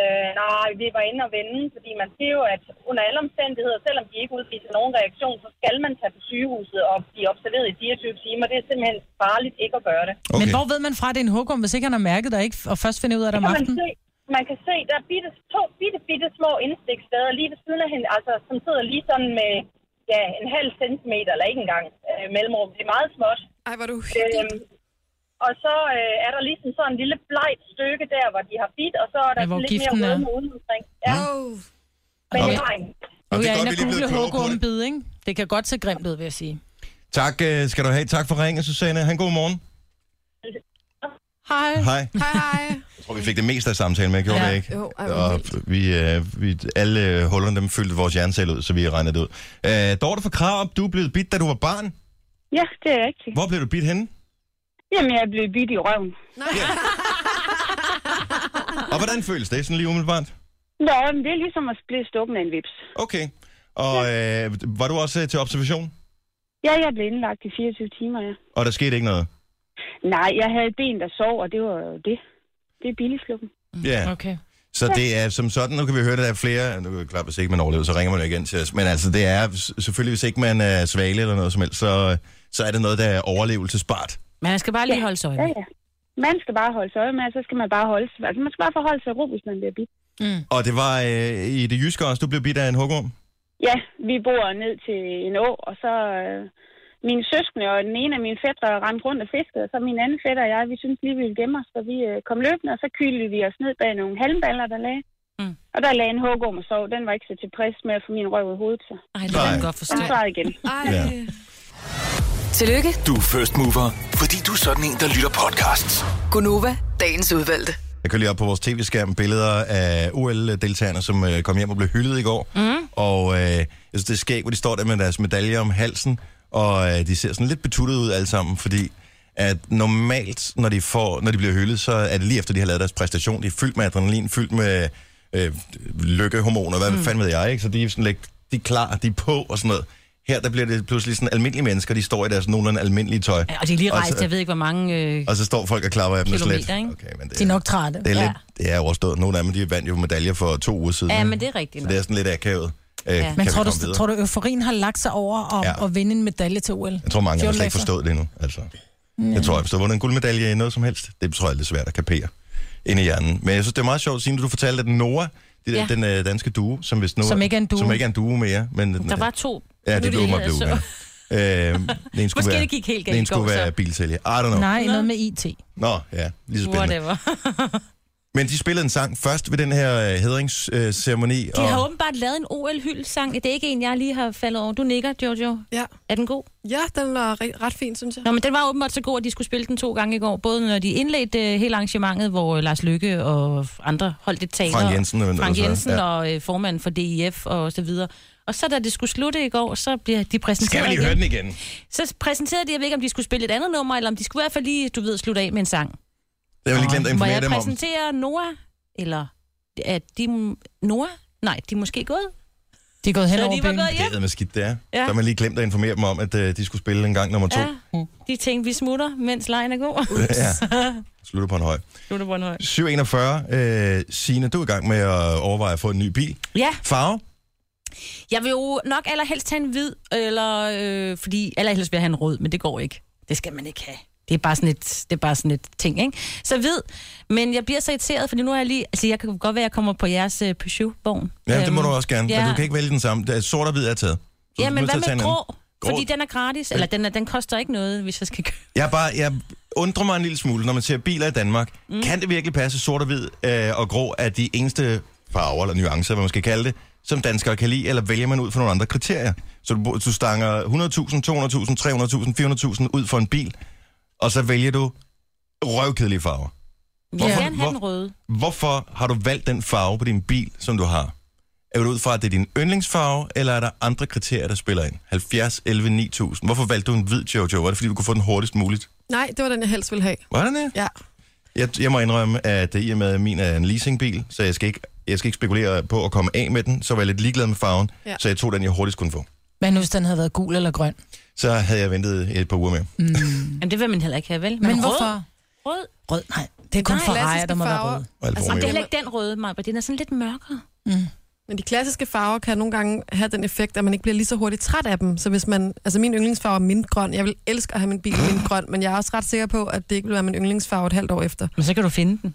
[SPEAKER 8] Øh, nej, vi var inde og vende, fordi man siger jo, at under alle omstændigheder, selvom de ikke udviser nogen reaktion, så skal man tage på sygehuset og blive observeret i 24 timer. Det er simpelthen farligt ikke at gøre det.
[SPEAKER 3] Okay.
[SPEAKER 5] Men hvor ved man fra, at det er en hugum, hvis ikke han har mærket det, og ikke, og først finder ud af det om
[SPEAKER 8] kan man
[SPEAKER 5] aftenen?
[SPEAKER 8] se, man kan se, der er bitte, to bitte, bitte små indstiksteder lige ved siden af hende, altså, som sidder lige sådan med ja, en halv centimeter, eller ikke engang, øh, mellemrum. Det er meget småt.
[SPEAKER 6] Ej, hvor er du
[SPEAKER 8] Øhm,
[SPEAKER 6] uhyggeligt.
[SPEAKER 8] og så øh, er der ligesom sådan en lille blegt stykke der, hvor de har bidt, og så er der
[SPEAKER 5] Ja, hvor
[SPEAKER 8] sådan lidt mere
[SPEAKER 5] giften er.
[SPEAKER 8] rødme ude omkring. Ja,
[SPEAKER 6] Åh.
[SPEAKER 8] men
[SPEAKER 5] Okay.
[SPEAKER 8] nej.
[SPEAKER 3] Og
[SPEAKER 5] Nu
[SPEAKER 3] det
[SPEAKER 5] er
[SPEAKER 3] er
[SPEAKER 5] jeg
[SPEAKER 3] godt,
[SPEAKER 5] inde
[SPEAKER 3] vi lige er
[SPEAKER 5] og
[SPEAKER 3] blevet
[SPEAKER 5] google
[SPEAKER 3] klogere på det.
[SPEAKER 5] hukumbid, ikke? Det kan godt se grimt ud, vil jeg sige.
[SPEAKER 3] Tak øh, skal du have. Tak for ringen, Susanne. Han god morgen.
[SPEAKER 5] Hej.
[SPEAKER 3] Hej.
[SPEAKER 6] Hej, hej.
[SPEAKER 3] Jeg tror, vi fik det meste af samtalen med, gjorde
[SPEAKER 5] Ja.
[SPEAKER 3] vi ikke?
[SPEAKER 6] Jo, ej, hvor
[SPEAKER 3] og
[SPEAKER 6] vildt.
[SPEAKER 3] vi, øh, vi, alle øh, hullerne, dem fyldte vores hjernecelle ud, så vi regnede det ud. Øh, Dorte fra Krarup, du er blevet bidt, da du var barn.
[SPEAKER 10] Ja, det er rigtigt.
[SPEAKER 3] Hvor blev du bidt henne?
[SPEAKER 10] Jamen, jeg er blevet bidt i røven.
[SPEAKER 3] Og hvordan føles det sådan lige umiddelbart?
[SPEAKER 10] Nå, men det er ligesom at blive stukket af en vips.
[SPEAKER 3] Okay. Og øh, var du også øh, til observation?
[SPEAKER 10] Ja, jeg blev indlagt i 24 timer, ja.
[SPEAKER 3] Og der skete ikke noget?
[SPEAKER 10] Nej, jeg havde et ben, der sov, og det var jo det. Det er billigflukken.
[SPEAKER 3] Ja.
[SPEAKER 5] Okay.
[SPEAKER 3] Så det er som sådan, nu kan vi høre, at der er flere, nu er det klart, hvis ikke man overlever, så ringer man jo igen til os, men altså det er s- selvfølgelig, hvis ikke man er svale eller noget som helst, så, så er det noget, der er overlevelsesbart.
[SPEAKER 4] Men han skal bare lige holde sig
[SPEAKER 10] Ja,
[SPEAKER 4] øje.
[SPEAKER 10] ja. Man skal bare holde sig øje med, og så skal man bare holde sig. Altså, man skal bare forholde sig ro, hvis man bliver bidt.
[SPEAKER 5] Mm.
[SPEAKER 3] Og det var øh, i det jyske også, du blev bidt af en hugorm.
[SPEAKER 10] Ja, vi bor ned til en å, og så... Øh, mine søskende og den ene af mine fætter rendte rundt og fiskede, og så min anden fætter og jeg, vi syntes lige, vi ville gemme os, så vi øh, kom løbende, og så kylede vi os ned bag nogle halmballer, der lagde.
[SPEAKER 4] Mm.
[SPEAKER 10] Mm. Og der lagde en hukum og sov. Den var ikke så tilfreds med at få min røv i hovedet, så
[SPEAKER 4] Ej, det kan
[SPEAKER 3] Nej.
[SPEAKER 4] jeg godt forstå.
[SPEAKER 10] den svarede igen.
[SPEAKER 6] Ej.
[SPEAKER 3] Ja.
[SPEAKER 1] Tillykke,
[SPEAKER 2] Du er first mover, fordi du er sådan en, der lytter podcasts.
[SPEAKER 1] Gunova, dagens udvalgte.
[SPEAKER 3] Jeg Der kører lige op på vores tv-skærm billeder af OL-deltagerne, som øh, kom hjem og blev hyldet i går. Mm. Og øh, jeg synes, det er skægt, hvor de står der med deres medaljer om halsen, og øh, de ser sådan lidt betuttet ud alle sammen, fordi at normalt, når de, får, når de bliver hyldet, så er det lige efter, de har lavet deres præstation. De er fyldt med adrenalin, fyldt med øh, lykkehormoner, hvad mm. fanden ved jeg, ikke? Så de er, sådan lidt, de er klar, de er på og sådan noget. Her der bliver det pludselig sådan almindelige mennesker, de står i deres nogenlunde almindelige tøj.
[SPEAKER 4] Ja, Og de er lige
[SPEAKER 3] Og så-
[SPEAKER 4] rejst, jeg ved ikke, hvor mange... Øh,
[SPEAKER 3] Og så står folk og klapper af dem og slet.
[SPEAKER 4] Kilometer, ikke?
[SPEAKER 3] Okay, men det
[SPEAKER 5] De er nok trætte.
[SPEAKER 3] det er,
[SPEAKER 4] Ja.
[SPEAKER 3] lidt, det er overstået. Nogle af dem, de vandt jo medaljer for to uger siden.
[SPEAKER 4] ja,
[SPEAKER 3] ikke?
[SPEAKER 4] men det er rigtigt.
[SPEAKER 3] Så
[SPEAKER 4] nok.
[SPEAKER 3] det er sådan lidt akavet. Øh, ja.
[SPEAKER 5] Men tror du, tror du, euforien har lagt sig over at,
[SPEAKER 3] Ja.
[SPEAKER 5] ja. at vinde en medalje til OL?
[SPEAKER 3] Jeg tror, mange har slet
[SPEAKER 5] 14
[SPEAKER 3] ikke
[SPEAKER 5] dage
[SPEAKER 3] forstået det endnu. Altså. Jeg tror, at hvis du har vundet en guldmedalje i noget som helst, det tror jeg er lidt svært at kapere ind i hjernen. Men jeg synes, det er meget sjovt, Signe, du fortalte, at Nora, det der, ja.
[SPEAKER 4] Ja.
[SPEAKER 3] den øh, danske duo, som, hvis nu,
[SPEAKER 5] Som ikke er en duo.
[SPEAKER 3] Som ikke er en duo mere. Men,
[SPEAKER 4] Der var to.
[SPEAKER 3] ja,
[SPEAKER 4] Nu
[SPEAKER 3] det
[SPEAKER 4] er
[SPEAKER 3] blev mig
[SPEAKER 4] hele,
[SPEAKER 3] blev.
[SPEAKER 4] så-
[SPEAKER 3] Ja. Øh, den skulle
[SPEAKER 4] Måske
[SPEAKER 3] være,
[SPEAKER 4] det gik helt galt
[SPEAKER 3] Den
[SPEAKER 4] i går,
[SPEAKER 3] skulle være
[SPEAKER 4] så.
[SPEAKER 3] bilsælger. I don't know.
[SPEAKER 5] før. Nej, noget med IT.
[SPEAKER 3] Nå, ja, lige så spændende.
[SPEAKER 4] Whatever.
[SPEAKER 3] Men de spillede en sang først ved den her øh, hedringsceremoni.
[SPEAKER 4] De har åbenbart lavet en OL-hyldsang. Det er ikke en, jeg lige har faldet over. Du nikker, Jojo.
[SPEAKER 6] Ja.
[SPEAKER 4] Er den god?
[SPEAKER 6] ja, den var re- ret fin, synes jeg.
[SPEAKER 4] Nå, men den var åbenbart så god, at de skulle spille den to gange i går. Både når de indledte øh, hele arrangementet, hvor øh, Lars Lykke og andre holdt et taler.
[SPEAKER 3] Frank Jensen, øh,
[SPEAKER 4] Frank
[SPEAKER 3] altså,
[SPEAKER 4] Jensen
[SPEAKER 3] ja.
[SPEAKER 4] ja. og øh, formanden for DIF og så videre. Og så da det skulle slutte i går, så bliver de præsenteret
[SPEAKER 3] Skal vi lige
[SPEAKER 4] igen.
[SPEAKER 3] høre den igen?
[SPEAKER 4] Så præsenterede de, jeg ved ikke, om de skulle spille et andet nummer, eller om de skulle i hvert fald lige, du ved, slutte af med en sang.
[SPEAKER 3] Jeg vil lige glemt at
[SPEAKER 4] Må
[SPEAKER 3] informere
[SPEAKER 4] jeg
[SPEAKER 3] dem om.
[SPEAKER 4] præsentere Noah? Eller er de... Noah? Nej, de er måske gået.
[SPEAKER 5] De er gået hen
[SPEAKER 4] Så
[SPEAKER 5] over
[SPEAKER 4] de var
[SPEAKER 5] byen.
[SPEAKER 4] gået hjem.
[SPEAKER 3] Det er med skidt, det er. Ja.
[SPEAKER 4] Ja.
[SPEAKER 3] Så har man lige glemt at informere dem om, at øh, de skulle spille en gang nummer to.
[SPEAKER 4] Ja. De tænkte, vi smutter, mens lejen er god.
[SPEAKER 3] Ja. Slutter på en høj.
[SPEAKER 4] Slutter på en høj.
[SPEAKER 3] 741. Øh, Signe, du er i gang med at overveje at få en ny bil.
[SPEAKER 4] Ja,
[SPEAKER 3] Farve?
[SPEAKER 4] jeg vil jo nok allerhelst tage en hvid, eller, øh, fordi allerhelst vil jeg have en rød, men det går ikke. Det skal man ikke have. Det er bare sådan et, det er bare sådan et ting, ikke? Så hvid, men jeg bliver så irriteret, fordi nu er jeg lige... Altså, jeg kan godt være, at jeg kommer på jeres øh, Peugeot-vogn.
[SPEAKER 3] Ja, det
[SPEAKER 4] Øhm,
[SPEAKER 3] må du også gerne. Ja.
[SPEAKER 4] ja.
[SPEAKER 3] Men du kan ikke vælge den samme. Det er sort og hvid er taget. Så du
[SPEAKER 4] Ja,
[SPEAKER 3] er
[SPEAKER 4] men
[SPEAKER 3] nødt til at
[SPEAKER 4] hvad
[SPEAKER 3] tage en
[SPEAKER 4] med
[SPEAKER 3] anden.
[SPEAKER 4] grå?
[SPEAKER 3] Grå.
[SPEAKER 4] Fordi den er gratis, eller den, er, den koster ikke noget, hvis jeg skal købe.
[SPEAKER 3] Jeg, er bare, jeg undrer mig en lille smule, når man ser biler i Danmark. Mm. Kan det virkelig passe, sort og hvid øh, og grå er de eneste farver eller nuancer, hvad man skal kalde det, som danskere kan lide, eller vælger man ud fra nogle andre kriterier? Så du, du stanger 100.000, 200.000, 300.000, 400.000 ud for en bil, og så vælger du røvkedelige farver.
[SPEAKER 4] Jeg
[SPEAKER 3] Hvorfor?
[SPEAKER 4] vil gerne have den
[SPEAKER 3] Hvor-
[SPEAKER 4] røde.
[SPEAKER 3] Hvorfor har du valgt den farve på din bil, som du har? Er det ud fra, at det er din yndlingsfarve, eller er der andre kriterier, der spiller ind? 70, 11, 9000. Hvorfor valgte du en hvid Jojo? Var det, fordi du kunne få den hurtigst muligt?
[SPEAKER 6] Nej, det var den, jeg helst ville have.
[SPEAKER 3] Var det det?
[SPEAKER 6] Ja.
[SPEAKER 3] Jeg, jeg må indrømme, at øh, i og med, at min er en leasingbil, så jeg skal, ikke, jeg skal ikke spekulere på at komme af med den, så var jeg lidt ligeglad med farven, ja.
[SPEAKER 6] Ja.
[SPEAKER 3] så jeg tog den, jeg hurtigst kunne få.
[SPEAKER 5] Men nu hvis den havde været gul eller grøn. Mm.
[SPEAKER 3] Så havde jeg ventet et par uger mere.
[SPEAKER 4] Jamen, det vil man heller ikke have, vel?
[SPEAKER 5] Men, Men
[SPEAKER 4] rød,
[SPEAKER 5] hvorfor?
[SPEAKER 4] Rød.
[SPEAKER 5] Rød, nej. Det er kun
[SPEAKER 4] Nej,
[SPEAKER 5] Ferrari,
[SPEAKER 6] klassiske
[SPEAKER 5] der må være
[SPEAKER 6] farver.
[SPEAKER 5] rød.
[SPEAKER 3] Og Alfa
[SPEAKER 6] Altså,
[SPEAKER 4] Og det er
[SPEAKER 3] Romeo.
[SPEAKER 4] heller ikke den røde, Maja, den er sådan lidt mørkere.
[SPEAKER 6] Men de klassiske farver kan nogle gange have den effekt, at man ikke bliver lige så hurtigt træt af dem. Så hvis man, altså min yndlingsfarve er mintgrøn. Jeg vil elske at have min bil mintgrøn, men jeg er også ret sikker på, at det ikke vil være min yndlingsfarve et halvt år efter.
[SPEAKER 4] Men så kan du finde den.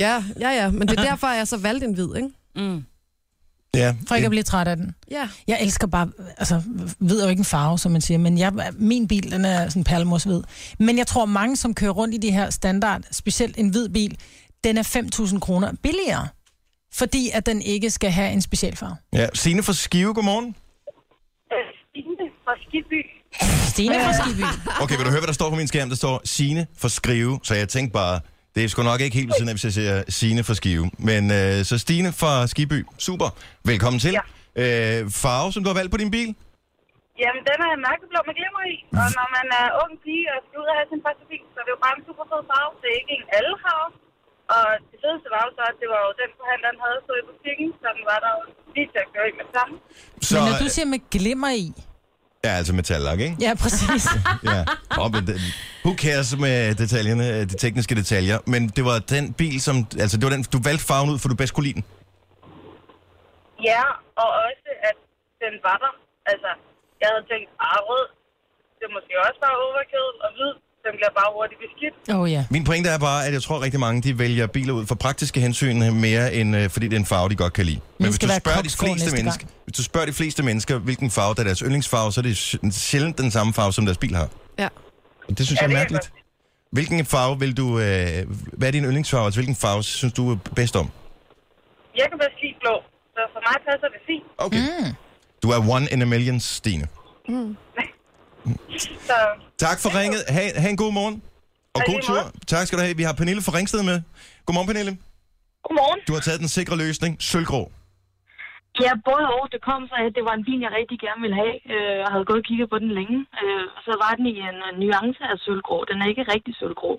[SPEAKER 6] Ja, ja, ja. Men det er derfor, jeg så valgte en hvid, ikke?
[SPEAKER 4] Mm.
[SPEAKER 3] Ja,
[SPEAKER 5] For ikke at blive træt af den.
[SPEAKER 6] Ja.
[SPEAKER 5] Jeg elsker bare, altså, hvid er jo ikke en farve, som man siger, men jeg, min bil, den er sådan perlemorshvid. Men jeg tror, mange, som kører rundt i de her standard, specielt en hvid bil, den er 5.000 kroner billigere, fordi at den ikke skal have en specialfarve.
[SPEAKER 3] ja. Signe fra Skive, godmorgen.
[SPEAKER 8] Stine fra Skibby.
[SPEAKER 5] Stine fra Skibby.
[SPEAKER 3] Okay, vil du høre, hvad der står på min skærm? Der står Sine for Skrive, så jeg tænkte bare, det er sgu nok ikke helt ved siden af, hvis jeg siger Sine for Skive. Men øh, så Stine fra Skiby, super. Velkommen til. Ja. Øh, farve, som du har valgt på din bil?
[SPEAKER 8] Jamen, den er mørkeblå med glimmer i. Og når man er ung pige og skal ud og have sin første bil, så er det jo bare en super fed farve. Det er ikke en alle farve. Og det fedeste var jo så, at det var jo den forhandleren havde stået i butikken, så den var der jo lige til at køre i med sammen.
[SPEAKER 3] Så, øh,
[SPEAKER 5] Men når du siger med glimmer i,
[SPEAKER 3] Ja, altså metallak, ikke?
[SPEAKER 5] ja, præcis.
[SPEAKER 3] Ja. Oh, men det, who cares med detaljerne, øh, de tekniske detaljer? Men det var den bil, som... Altså, det var den, du valgte farven ud, for du bedst kunne lide den.
[SPEAKER 8] Ja, og også at den var der. Altså, jeg havde tænkt, ah, rød, det er måske også bare overkædet, og hvid, den bliver bare hurtigt beskidt.
[SPEAKER 5] Åh oh, ja.
[SPEAKER 3] Min pointe er bare, at jeg tror rigtig mange, de vælger biler ud for praktiske hensyn mere, end øh, fordi det er en farve, de godt kan lide. Men
[SPEAKER 5] Den
[SPEAKER 3] hvis
[SPEAKER 5] skal
[SPEAKER 3] du,
[SPEAKER 5] være
[SPEAKER 3] spørger de
[SPEAKER 5] koksgrå
[SPEAKER 3] fleste
[SPEAKER 5] næste
[SPEAKER 3] mennesker,
[SPEAKER 5] gang.
[SPEAKER 3] hvis du spørger de fleste mennesker, hvilken farve der er deres yndlingsfarve, så er det sj- sjældent den samme farve, som deres bil har.
[SPEAKER 6] Ja.
[SPEAKER 3] Og det synes ja, jeg
[SPEAKER 8] det
[SPEAKER 3] er
[SPEAKER 8] kan
[SPEAKER 3] mærkeligt.
[SPEAKER 8] jeg
[SPEAKER 3] Hvilken farve vil du... Øh, hvad er din yndlingsfarve? Altså, hvilken farve synes du er bedst om?
[SPEAKER 8] Jeg kan bedst lide blå, så for mig passer det fint.
[SPEAKER 3] Okay. Mm. Du er one in a million, Stine.
[SPEAKER 8] Så
[SPEAKER 3] Tak for ringet. Ha, ha en god morgen. Og
[SPEAKER 8] Ja,
[SPEAKER 3] god
[SPEAKER 8] lige måde.
[SPEAKER 3] tur. Tak skal du have. Vi har Pernille fra Ringsted med. Godmorgen, Pernille. Du har taget den sikre løsning, sølvgrå.
[SPEAKER 11] Ja, både og. Det kom så, at det var en vin, jeg rigtig gerne ville have, øh, og havde gået og kigget på den længe. Øh, og så var den i en, en nuance af sølvgrå. Den er ikke rigtig sølvgrå.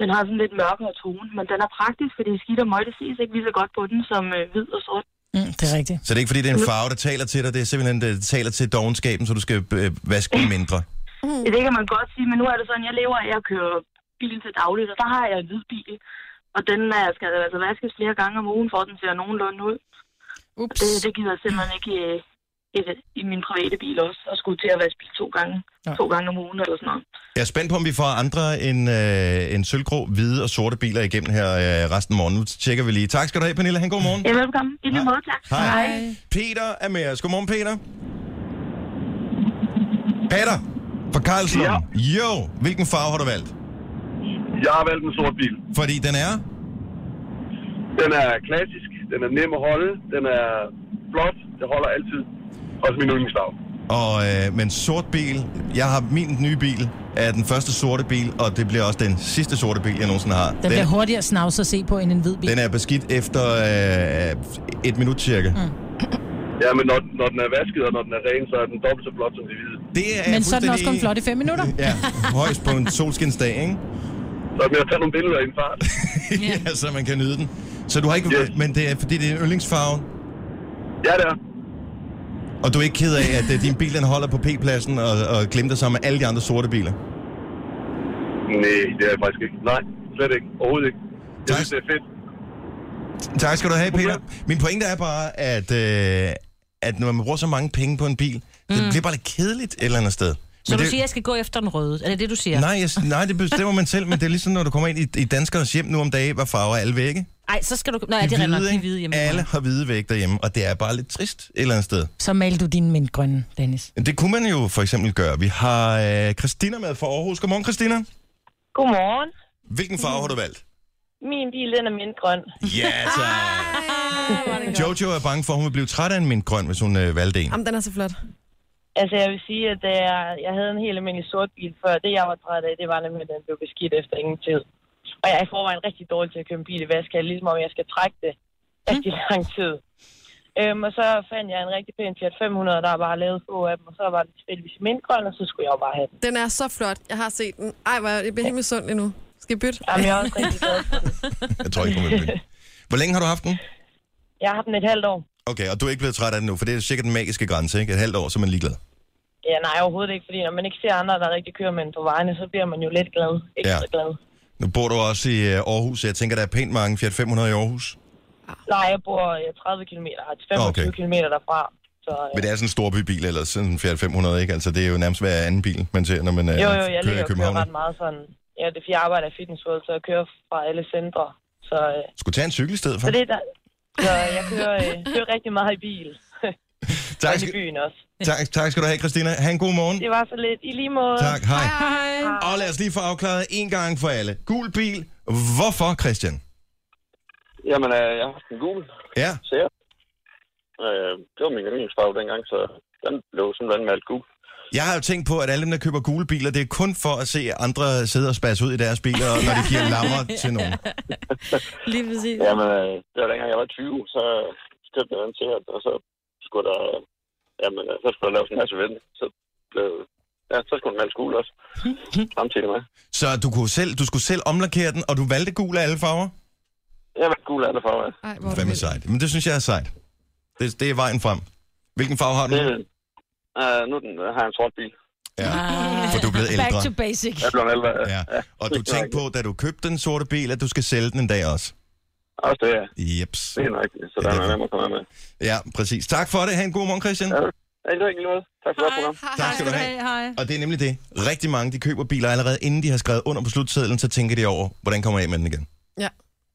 [SPEAKER 11] Den har sådan lidt mørkere tone, men den er praktisk, fordi skidt og møg, det ses ikke lige så godt på den som øh, hvid og sort.
[SPEAKER 5] Mm, det er rigtigt.
[SPEAKER 3] Så det er ikke, fordi det er en farve, der taler til dig. Det er simpelthen, det taler til dogenskaben, så du skal øh, vaske den mindre.
[SPEAKER 11] Ja, Det kan man godt sige, men nu er det sådan, jeg lever af at køre bil til dagligt, og der har jeg en hvid bil. Og den er, skal altså vaskes flere gange om ugen, for at den ser nogenlunde ud.
[SPEAKER 5] Ups.
[SPEAKER 11] Det, det gider jeg simpelthen ikke i, i, i min private bil også, at skulle til at vaske bil to gange,
[SPEAKER 5] Nej.
[SPEAKER 11] to gange om ugen eller sådan noget.
[SPEAKER 3] Jeg er spændt på, om vi får andre end, øh, end sølvgrå, hvide og sorte biler igennem her øh, resten af morgenen. Nu tjekker vi lige. Tak skal du have, Pernille. Han god morgen.
[SPEAKER 11] Ja, velkommen. I lige
[SPEAKER 3] Hej.
[SPEAKER 11] måde, tak.
[SPEAKER 3] Hej. Peter er med os. Godmorgen, Peter. Peter fra Karlslund.
[SPEAKER 12] Ja.
[SPEAKER 3] Jo, hvilken farve har du valgt?
[SPEAKER 12] Jeg har valgt en sort bil.
[SPEAKER 3] Fordi den er...
[SPEAKER 12] Den er klassisk, den er nem at holde, den er flot, det holder altid. Også min yndlingsfarve.
[SPEAKER 3] Og, øh, men sort bil, jeg har min nye bil, er den første sorte bil, og det bliver også den sidste sorte bil, jeg nogensinde har.
[SPEAKER 5] Den bliver hurtigere snavs at se på end en hvid bil.
[SPEAKER 3] den er beskidt efter øh, et minut cirka. Mm.
[SPEAKER 12] Ja, men når, når den er vasket og når den er ren, så er den dobbelt så flot som de hvide.
[SPEAKER 3] Det er
[SPEAKER 5] Men så er den også
[SPEAKER 3] fuldstændig-
[SPEAKER 5] kun flot i fem minutter.
[SPEAKER 3] Ja, højst på en solskinsdag, ikke?
[SPEAKER 12] Så med at tage nogle billeder i en fart.
[SPEAKER 3] Ja. ja, så man kan nyde den. Så du har ikke...
[SPEAKER 12] Yes.
[SPEAKER 3] Men det er, fordi det er yndlingsfarven,
[SPEAKER 12] Ja, det er.
[SPEAKER 3] og du er ikke ked af, at øh, din bil den holder på P-pladsen og, og glemte sammen med alle de andre sorte biler.
[SPEAKER 12] Nej, det er jeg faktisk ikke. Nej, slet ikke. Overhovedet ikke. Jeg
[SPEAKER 3] Tak.
[SPEAKER 12] synes, det er fedt.
[SPEAKER 3] Tak skal du have, Peter. Min pointe er bare, at, øh, at når man bruger så mange penge på en bil, mm. det bliver bare lidt kedeligt et eller andet sted.
[SPEAKER 4] Så
[SPEAKER 3] Men
[SPEAKER 4] du
[SPEAKER 3] det,
[SPEAKER 4] siger, at jeg skal gå efter den røde? Er det det, du siger?
[SPEAKER 3] Nej, jeg, nej, det bestemmer man selv, men det er ligesom, når du kommer ind i, i danskernes hjem nu om dagen, hvad farve er alle vægge?
[SPEAKER 4] Nej, så skal du... Nej, det er
[SPEAKER 3] hvide,
[SPEAKER 4] rent nok. De
[SPEAKER 3] ikke?
[SPEAKER 4] er hvide hjemme.
[SPEAKER 3] Alle har hvide vægge derhjemme, og det er bare lidt trist et eller andet sted.
[SPEAKER 5] Så maler du dine mindre grønne, Dennis.
[SPEAKER 3] Det kunne man jo for eksempel gøre. Vi har øh, Christina med fra Aarhus. Godmorgen, Christina.
[SPEAKER 9] Godmorgen.
[SPEAKER 3] Hvilken farve har du valgt?
[SPEAKER 9] Min bil, den er mindre grøn.
[SPEAKER 3] Ja, tak. Jojo er bange for, at hun vil blive træt af en mint grøn, hvis hun øh, valgte en.
[SPEAKER 6] Jamen, den er så flot.
[SPEAKER 9] Altså, jeg vil sige, at da jeg, jeg havde en helt almindelig sort bil før. Det, jeg var træt af, det var nemlig, at den blev beskidt efter ingen tid. Og jeg er i forvejen rigtig dårlig til at købe en bil i vask. Jeg er ligesom om, jeg skal trække det
[SPEAKER 11] Mm.
[SPEAKER 9] rigtig lang tid. Øhm, og så fandt jeg en rigtig pæn Fiat 500, der var lavet få af dem. Og så var det tilfældigvis mindgrøn, og så skulle jeg jo bare have den.
[SPEAKER 6] Den er så flot. Jeg har set den. Ej, hvor jeg jeg bliver helt misundelig nu. Skal jeg bytte?
[SPEAKER 9] Jamen, jeg er også rigtig glad for den.
[SPEAKER 3] Jeg tror ikke, hun vil bytte. Hvor længe har du haft den?
[SPEAKER 9] Jeg har den et halvt år.
[SPEAKER 3] Okay, og du er ikke blevet træt af den nu, for det er cirka den magiske grænse, ikke? Et halvt år, så er man ligeglad.
[SPEAKER 9] Ja, nej, overhovedet ikke, fordi når man ikke ser andre, der rigtig kører med den på vejene, så bliver man jo lidt glad. Ekstra
[SPEAKER 3] Ja.
[SPEAKER 9] ja. glad.
[SPEAKER 3] Nu bor du også i øh, Aarhus, så jeg tænker, der er pænt mange Fiat 500 i Aarhus.
[SPEAKER 9] Nej, jeg bor øh, 30 km,
[SPEAKER 3] Okay.
[SPEAKER 9] 25 okay. km derfra. Så, øh,
[SPEAKER 3] Men det er sådan en stor bybil, eller sådan en Fiat 500, ikke? Altså, det er jo nærmest hver anden bil, man ser, når man øh,
[SPEAKER 9] jo, jo, jeg
[SPEAKER 3] kører
[SPEAKER 9] ligger
[SPEAKER 3] i
[SPEAKER 9] og kører
[SPEAKER 3] København.
[SPEAKER 9] ret meget sådan. Ja, det er fordi, jeg arbejder i Fitness World, så jeg kører fra alle centre. Så, øh,
[SPEAKER 3] Skulle tage en cykel i stedet for.
[SPEAKER 9] så det er der. Så jeg kører, øh, kører rigtig meget i bil.
[SPEAKER 3] tak,
[SPEAKER 9] Og i
[SPEAKER 3] skal,
[SPEAKER 9] byen også.
[SPEAKER 3] tak, tak skal du have, Christina. Ha' en god morgen.
[SPEAKER 9] Det var så lidt. I lige måde.
[SPEAKER 3] Tak, hej. Og lad os lige få afklaret en gang for alle. Gul bil. Hvorfor, Christian?
[SPEAKER 12] Jamen, øh, jeg har haft en gul
[SPEAKER 3] Ja,
[SPEAKER 12] sære. Øh, det var min yndlingsfarve dengang, så den blev simpelthen malet gul.
[SPEAKER 3] jeg har jo tænkt på, at alle dem, der køber gule biler, det er kun for at se andre sidde og spasse ud i deres biler, og når de giver lammer til nogen.
[SPEAKER 6] Lige præcis.
[SPEAKER 12] Jamen, øh, det var dengang, jeg var 20, så købte jeg den til, og så skulle der, jamen, øh, så skulle der laves en masse ved den. Så blev, ja, så skulle den males gul også, samtidig med.
[SPEAKER 3] Så du, kunne selv, du skulle selv omlakere den, og du valgte gul af alle farver?
[SPEAKER 12] Jeg var gul af det for mig.
[SPEAKER 6] Ej, hvor er
[SPEAKER 3] Hvad med
[SPEAKER 6] det
[SPEAKER 3] sejt? Men det synes jeg er sejt. Det, det er vejen frem. Hvilken farve har du?
[SPEAKER 12] Det, øh, nu den, har jeg en sort bil.
[SPEAKER 3] Ja, for du er blevet
[SPEAKER 5] Back to
[SPEAKER 3] ældre.
[SPEAKER 5] basic.
[SPEAKER 12] Jeg blev en ældre. Ja.
[SPEAKER 3] Ja. Og du tænkte på, da du købte den sorte bil, at du skal sælge den en dag også.
[SPEAKER 12] Også det, ja.
[SPEAKER 3] Jeps.
[SPEAKER 12] Det er nok, så
[SPEAKER 3] Ja,
[SPEAKER 12] der
[SPEAKER 3] det
[SPEAKER 12] er
[SPEAKER 3] er-
[SPEAKER 12] nem at komme af med.
[SPEAKER 3] Ja, præcis. Tak for det. Ha' en god morgen, Christian.
[SPEAKER 12] Ja, Ja, det var ikke noget. Tak for det program.
[SPEAKER 3] Tak skal du have. Og det er nemlig det. Rigtig mange, de køber biler allerede, inden de har skrevet under på slutsedlen, så tænker de over, hvordan kommer jeg af med den igen.
[SPEAKER 6] Ja.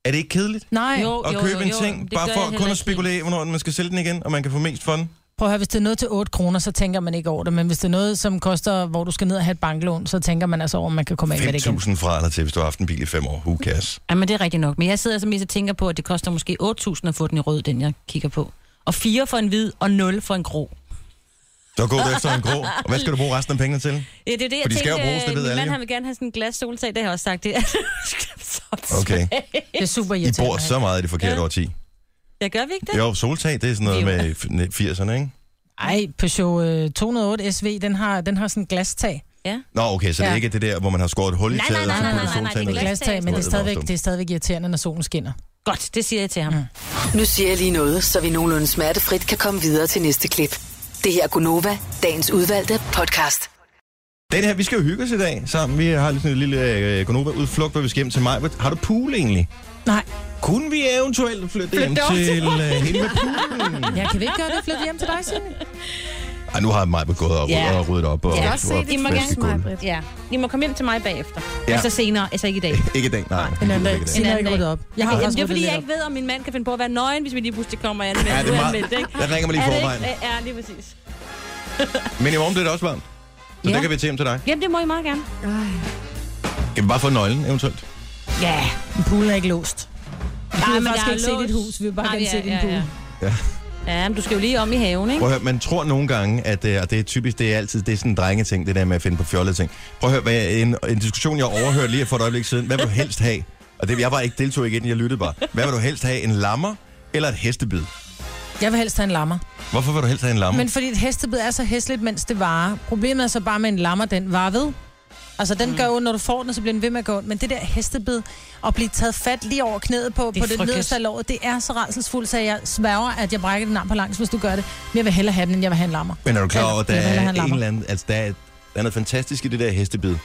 [SPEAKER 3] Er det ikke kedeligt?
[SPEAKER 5] Nej,
[SPEAKER 4] Jo,
[SPEAKER 3] At købe en ting,
[SPEAKER 4] det
[SPEAKER 3] bare
[SPEAKER 4] gør jeg
[SPEAKER 3] for
[SPEAKER 4] heller
[SPEAKER 3] kun at
[SPEAKER 4] ikke.
[SPEAKER 3] spekulere, hvornår man skal sælge den igen, og man kan få mest for den.
[SPEAKER 5] prøv at høre, hvis det er noget til 8 kroner, så tænker man ikke over det. Men hvis det er noget, som koster, hvor du skal ned og have et banklån, så tænker man altså over, om man kan komme af med det igen.
[SPEAKER 3] 5.000 fra eller til, hvis du har haft en bil i fem år. Who cares?
[SPEAKER 4] Ja, men det er rigtigt nok. Men jeg sidder altså mest og tænker på, at det koster måske 8.000 at få den i rød, den jeg kigger på. Og 4 for en hvid, og 0 for en grå.
[SPEAKER 3] Så går du efter en grå. Og hvad skal du bruge resten af pengene til?
[SPEAKER 4] Ja, det er det, jeg
[SPEAKER 3] For de skal jo
[SPEAKER 4] tænkte,
[SPEAKER 3] bruges, det ved
[SPEAKER 4] øh, min
[SPEAKER 3] alle
[SPEAKER 4] mand
[SPEAKER 3] jo.
[SPEAKER 4] han vil gerne have sådan en glas soltag, det har jeg også sagt. Det. er- så
[SPEAKER 3] Okay.
[SPEAKER 5] Det er super
[SPEAKER 3] I
[SPEAKER 5] irriterende.
[SPEAKER 3] bor så meget i det forkerte
[SPEAKER 4] Ja.
[SPEAKER 3] årti.
[SPEAKER 4] Ja, gør vi ikke det?
[SPEAKER 3] Jo, soltag, det er sådan noget
[SPEAKER 4] Det er
[SPEAKER 3] med f- 80'erne, ikke?
[SPEAKER 5] Ej, Peugeot øh, 208 SV, den har, den har sådan en glastag.
[SPEAKER 3] Nå, okay, så det er
[SPEAKER 5] Ja.
[SPEAKER 3] ikke det der, hvor man har skåret et hul i
[SPEAKER 4] Nej, nej,
[SPEAKER 3] taget, og
[SPEAKER 4] nej,
[SPEAKER 3] så
[SPEAKER 4] nej,
[SPEAKER 3] puttet
[SPEAKER 4] nej, nej,
[SPEAKER 3] soltag
[SPEAKER 4] det er
[SPEAKER 3] ned.
[SPEAKER 4] glas.
[SPEAKER 5] Glastag, men det er,
[SPEAKER 3] Ja.
[SPEAKER 5] stadigvæk, det er stadigvæk irriterende, når solen skinner.
[SPEAKER 4] Godt, det siger jeg til ham. Mm.
[SPEAKER 1] Nu siger jeg lige noget, så vi nogenlunde smertefrit kan komme videre til næste klip. Det her er Gunova, dagens udvalgte podcast.
[SPEAKER 3] Den her, vi skal jo hygge os i dag sammen. Vi har lige sådan en lille konoba udflugt hvor vi skal hjem til mig. Har du pool egentlig?
[SPEAKER 5] Nej,
[SPEAKER 3] Kunne vi eventuelt flytte hjem til øh, hende med poolen?
[SPEAKER 5] jeg kan vi ikke gøre det, flytte hjem til dig, Signe.
[SPEAKER 3] Ej, nu har mig gået op
[SPEAKER 4] Ja.
[SPEAKER 3] og ryddet op. Og,
[SPEAKER 4] Jeg kan
[SPEAKER 3] og,
[SPEAKER 4] godt
[SPEAKER 6] se det
[SPEAKER 4] I må
[SPEAKER 3] vasket
[SPEAKER 4] gerne-
[SPEAKER 3] gulv.
[SPEAKER 6] Maj-Brit.
[SPEAKER 4] Ja, I må komme hjem til mig bagefter.
[SPEAKER 3] Ja.
[SPEAKER 4] Ja. Altså senere, altså ikke i dag.
[SPEAKER 3] Ikke i dag, nej.
[SPEAKER 5] En anden
[SPEAKER 3] Ikke i
[SPEAKER 5] dag.
[SPEAKER 3] dag.
[SPEAKER 5] Signe har ikke
[SPEAKER 4] dag.
[SPEAKER 5] ryddet op. Jeg har
[SPEAKER 4] Jamen,
[SPEAKER 5] også
[SPEAKER 4] det er fordi,
[SPEAKER 5] ryddet
[SPEAKER 4] jeg
[SPEAKER 5] lidt
[SPEAKER 4] ikke ved, om min mand kan finde på at være nøgen, hvis vi lige pludselig kommer an med.
[SPEAKER 3] Ja, det er meget- der ringer man lige i forvejen.
[SPEAKER 4] Ja, lige præcis.
[SPEAKER 3] Men i morgen bliver det også varmt. Så
[SPEAKER 4] Ja.
[SPEAKER 3] der kan vi tage hjem til dig.
[SPEAKER 4] Jamen, det må I meget gerne.
[SPEAKER 3] Kan vi bare få nøglen eventuelt?
[SPEAKER 4] Ja.
[SPEAKER 5] op. Poolen er ikke låst.
[SPEAKER 4] Nej,
[SPEAKER 5] vil
[SPEAKER 4] men
[SPEAKER 5] faktisk
[SPEAKER 4] der er
[SPEAKER 5] ikke se
[SPEAKER 4] lås.
[SPEAKER 5] dit hus, vi vil bare
[SPEAKER 4] Nej,
[SPEAKER 5] gerne
[SPEAKER 4] ja,
[SPEAKER 5] se din
[SPEAKER 4] ja,
[SPEAKER 5] pool.
[SPEAKER 4] ja.
[SPEAKER 3] Ja.
[SPEAKER 4] Ja, men du skal jo lige om i haven, ikke?
[SPEAKER 3] Prøv at høre, man tror nogle gange, at øh, og det er typisk, det er altid det er sådan en drengeting, det der med at finde på fjollede ting. Prøv at høre, hvad jeg, en, en diskussion, jeg overhørte lige for et øjeblik siden. Hvad vil du helst have? Og det, jeg var ikke deltog ikke i den, jeg lyttede bare. Hvad vil du helst have? En lammer eller et hestebid?
[SPEAKER 5] Jeg vil helst have en lammer.
[SPEAKER 3] Hvorfor vil du helst have en lammer?
[SPEAKER 5] Men fordi et hestebid er så hæsligt, mens det varer. Problemet er så bare med en lammer, den var ved. Altså, den
[SPEAKER 4] Mm.
[SPEAKER 5] gør jo, når du får den, så bliver den ved med at gå ondt. Men det der hestebid, at blive taget fat lige over knæet på, det
[SPEAKER 4] er
[SPEAKER 5] på det
[SPEAKER 4] frygteligt.
[SPEAKER 5] nederste af låret, det er så rædselsfuldt, så jeg sværger, at jeg brækker din arm på langs, hvis du gør det. Men jeg vil hellere have den, end jeg vil have en lammer.
[SPEAKER 3] Men er du klar over, at der
[SPEAKER 5] Jeg vil hellere
[SPEAKER 3] er
[SPEAKER 5] have en
[SPEAKER 3] en
[SPEAKER 5] lammer.
[SPEAKER 3] eller anden, altså der er, der er noget fantastisk i det der hestebid?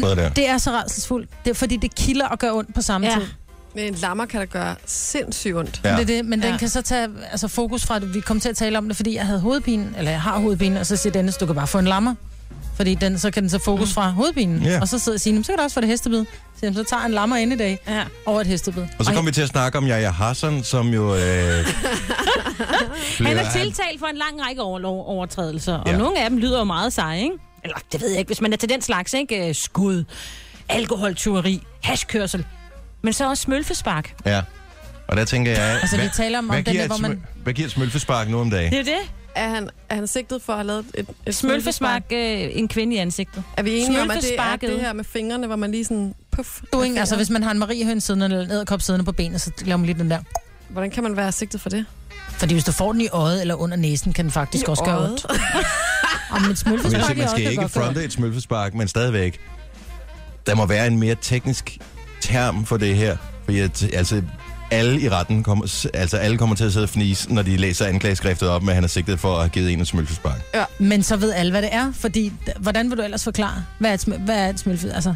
[SPEAKER 3] Prøv der.
[SPEAKER 5] Det er så rædselsfuldt. Det er fordi, det kilder og gør ondt på samme
[SPEAKER 4] Ja.
[SPEAKER 5] ja. tid.
[SPEAKER 6] Men en lammer kan da gøre sindssygt ondt.
[SPEAKER 5] Ja.
[SPEAKER 3] Ja.
[SPEAKER 5] Det er det, men ja.
[SPEAKER 4] Ja.
[SPEAKER 5] den kan så tage altså, fokus fra, at vi kom til at tale om det, fordi jeg havde hovedpine, eller jeg har hovedpine, og så siger Dennis, du kan bare få en lammer. Fordi den, så kan den så fokus fra hovedpinen.
[SPEAKER 3] Ja.
[SPEAKER 5] Og så sidder Signe, "Men så kan du også få det hestebid. Så, siger, jeg, så tager jeg en lammer ind i dag
[SPEAKER 4] Ja.
[SPEAKER 5] over et hestebid.
[SPEAKER 3] Og så
[SPEAKER 5] Ej,
[SPEAKER 3] kom vi til at snakke om Jaja Hassan, som jo... Øh,
[SPEAKER 4] Han
[SPEAKER 3] blev-
[SPEAKER 4] er tiltalt for en lang række overlov- overtrædelser, og
[SPEAKER 3] Ja.
[SPEAKER 4] ja. nogle af dem lyder jo meget seje, ikke? Eller, det ved jeg ikke, hvis man er til den slags, ikke? Øh, Skud, alkoholtyveri, hashkørsel, men så også smølfespark.
[SPEAKER 3] Ja. Og der tænker jeg...
[SPEAKER 5] Altså, vi taler om- om
[SPEAKER 3] hvad
[SPEAKER 5] den
[SPEAKER 3] giver
[SPEAKER 5] der,
[SPEAKER 3] et
[SPEAKER 5] hvor man-
[SPEAKER 3] smø- Hvad giver et smølfespark nu om dagen?
[SPEAKER 4] Det er jo det.
[SPEAKER 6] Er han, er han sigtet for at have lavet et, et
[SPEAKER 4] Smølfespark, øh, en kvinde i ansigtet.
[SPEAKER 6] Er vi enige om, at det er
[SPEAKER 4] Smølfesparket.
[SPEAKER 6] det her med fingrene, hvor man lige sådan... Puff,
[SPEAKER 5] du er
[SPEAKER 6] med
[SPEAKER 5] ikke, altså,
[SPEAKER 6] fingeren?
[SPEAKER 5] hvis man har en mariehøn siddende eller en æderkop siddende på benet, så laver man lige den der.
[SPEAKER 6] Hvordan kan man være sigtet for det?
[SPEAKER 5] Fordi hvis du får den i øjet eller under næsen, kan den faktisk også gøre
[SPEAKER 6] øjet?
[SPEAKER 5] ondt. Og med et
[SPEAKER 3] Men jeg
[SPEAKER 5] smølfespark
[SPEAKER 3] siger,
[SPEAKER 5] i
[SPEAKER 3] man
[SPEAKER 5] øjet,
[SPEAKER 3] skal
[SPEAKER 5] kan
[SPEAKER 3] ikke
[SPEAKER 5] godt gøre
[SPEAKER 3] fronte et smølfespark, men stadigvæk. Der må være en mere teknisk term for det her. For jeg, t- altså, alle i retten kommer, s- altså alle kommer til at sidde og fnise, når de læser anklageskriftet op med, at han er sigtet for at have givet en et smølfespark.
[SPEAKER 5] ondt. Men så ved alle, hvad det er, fordi d- hvordan vil du ellers forklare, hvad er et, smø- hvad er et smølfespark? Altså,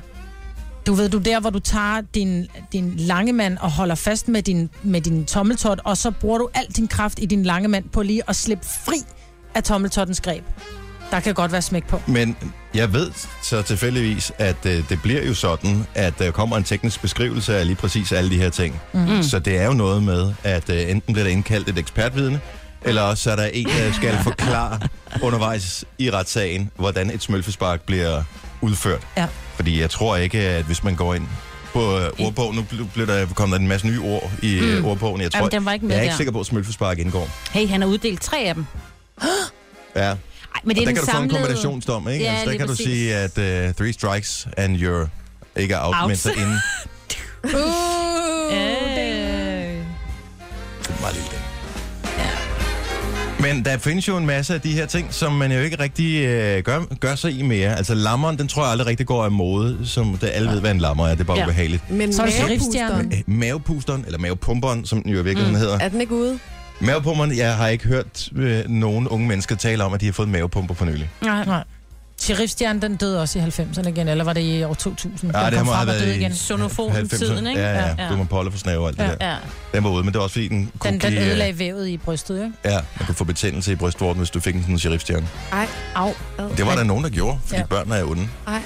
[SPEAKER 5] du ved, du er der, hvor du tager din, din lange mand og holder fast med din, med din tommeltot, og så bruger du al din kraft i din lange mand på lige at slippe fri af tommeltottens greb. Der kan godt være smæk på.
[SPEAKER 3] Men jeg ved så tilfældigvis, at øh, det bliver jo sådan, at der kommer en teknisk beskrivelse af lige præcis alle de her ting. Mm. Så det er jo noget med, at øh, enten bliver der indkaldt et ekspertvidne, eller også er der en, der skal forklare undervejs i retssagen, hvordan et smølfespark bliver udført.
[SPEAKER 5] Ja.
[SPEAKER 3] Fordi jeg tror ikke, at hvis man går ind på øh, ordbogen, nu bl- blev der kommet der en masse nye ord i mm. ordbogen. Jeg, tror,
[SPEAKER 4] Jamen, den var ikke med
[SPEAKER 3] jeg er ikke
[SPEAKER 4] der.
[SPEAKER 3] sikker på, at smølfespark indgår.
[SPEAKER 4] Hey, han har uddelt tre af dem.
[SPEAKER 3] Ja.
[SPEAKER 4] Ej, men det er
[SPEAKER 3] og der kan
[SPEAKER 4] den
[SPEAKER 3] du få en
[SPEAKER 4] samlede...
[SPEAKER 3] kombinationsdom, ikke?
[SPEAKER 4] Ja,
[SPEAKER 3] altså, der
[SPEAKER 4] lige
[SPEAKER 3] kan
[SPEAKER 4] præcis.
[SPEAKER 3] du sige, at uh, three strikes and you're ikke er out, out.
[SPEAKER 4] Out.
[SPEAKER 3] men så inden. Det
[SPEAKER 4] Øh,
[SPEAKER 3] er en meget lille ting. Men der findes jo en masse af de her ting, som man jo ikke rigtig øh, gør, gør sig i mere. Altså lammeren, den tror jeg aldrig rigtig går af mode, som det alle ved, hvad en lammer er. Det er bare ja.
[SPEAKER 4] Ja.
[SPEAKER 3] ubehageligt.
[SPEAKER 6] Men
[SPEAKER 5] Så er det
[SPEAKER 6] mavepusteren,
[SPEAKER 5] sheriffstjernen.
[SPEAKER 3] Øh, Mavepusteren, eller mavepumperen, som den jo i virkeligheden mm. hedder.
[SPEAKER 6] er den ikke ude?
[SPEAKER 3] Mavepumperen, jeg har ikke hørt øh, nogen unge mennesker tale om, at de har fået mavepumper for nylig.
[SPEAKER 5] Nej, nej. Sheriffstjernen, den døde også i 90'erne igen, eller var det i år 2000?
[SPEAKER 3] Ja,
[SPEAKER 5] den
[SPEAKER 3] det
[SPEAKER 5] kom
[SPEAKER 3] må
[SPEAKER 5] frem
[SPEAKER 3] have
[SPEAKER 5] og
[SPEAKER 3] været
[SPEAKER 5] døde
[SPEAKER 3] i
[SPEAKER 5] igen.
[SPEAKER 4] Sonofonen-tiden, ikke?
[SPEAKER 3] Ja, ja, ja.
[SPEAKER 4] Ja.
[SPEAKER 3] Du må polle for snæve og alt ja. det der.
[SPEAKER 4] ja.
[SPEAKER 3] Den var ude, men det var også fordi, den kunne
[SPEAKER 5] Den, den
[SPEAKER 3] give, øh,
[SPEAKER 5] ødelagde vævet i brystet, ikke?
[SPEAKER 3] Ja, man kunne få betændelse i brystvorten, hvis du fik en sådan sheriffstjerne.
[SPEAKER 6] Ej,
[SPEAKER 5] Au.
[SPEAKER 3] Det var der nogen, der gjorde, fordi ja.
[SPEAKER 5] Ja.
[SPEAKER 3] børn er jo onde.
[SPEAKER 6] ej.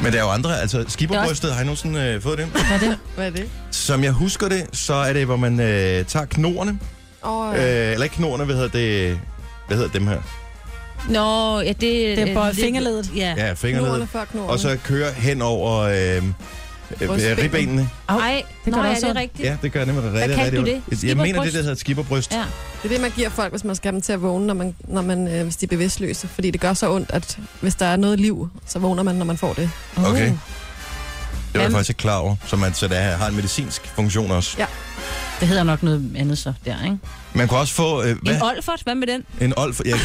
[SPEAKER 3] Men der er jo andre, altså skiberbrystet, har I nogensinde øh, fået det?
[SPEAKER 5] Hvad er det?
[SPEAKER 6] Hvad er det?
[SPEAKER 3] Som jeg husker det, så er det, hvor man øh, tager knorene,
[SPEAKER 6] Og, øh,
[SPEAKER 3] øh, eller ikke knorene, hvad hedder det, hvad hedder dem her?
[SPEAKER 4] Nå, ja, det...
[SPEAKER 5] Det er bare
[SPEAKER 4] øh,
[SPEAKER 5] fingerledet.
[SPEAKER 4] Ja.
[SPEAKER 3] Ja,
[SPEAKER 6] knorene
[SPEAKER 3] fingrene.
[SPEAKER 6] før knorene.
[SPEAKER 3] Og så kører hen over øh, øh,
[SPEAKER 6] Brystbenet.
[SPEAKER 3] ribbenene.
[SPEAKER 5] Au.
[SPEAKER 4] Ej,
[SPEAKER 5] det
[SPEAKER 4] det
[SPEAKER 5] gør det
[SPEAKER 4] Nå, ja,
[SPEAKER 5] også
[SPEAKER 4] det er
[SPEAKER 5] ondt.
[SPEAKER 4] rigtigt.
[SPEAKER 3] Ja, det gør nemlig rigtig,
[SPEAKER 4] kaldte
[SPEAKER 3] rigtig
[SPEAKER 4] du
[SPEAKER 3] ondt.
[SPEAKER 4] det?
[SPEAKER 3] Jeg mener, det
[SPEAKER 4] Skiberbryst?
[SPEAKER 3] der hedder et skiberbryst.
[SPEAKER 4] Ja.
[SPEAKER 6] Det er det, man giver folk, hvis man skal have dem til at vågne, når man, når man, øh, hvis de er bevidstløse.
[SPEAKER 5] Uh. Mm.
[SPEAKER 6] Fordi det gør så ondt, at hvis der er noget liv, så vågner man, når man får det.
[SPEAKER 3] Okay. Det var jeg faktisk ikke klar over, så, man, så det er- har en medicinsk funktion også.
[SPEAKER 6] Ja.
[SPEAKER 4] Det hedder nok noget andet så der, ikke?
[SPEAKER 3] Man kan også få... Øh, hvad?
[SPEAKER 4] En olfert, hvad med den?
[SPEAKER 3] En old for, ja, det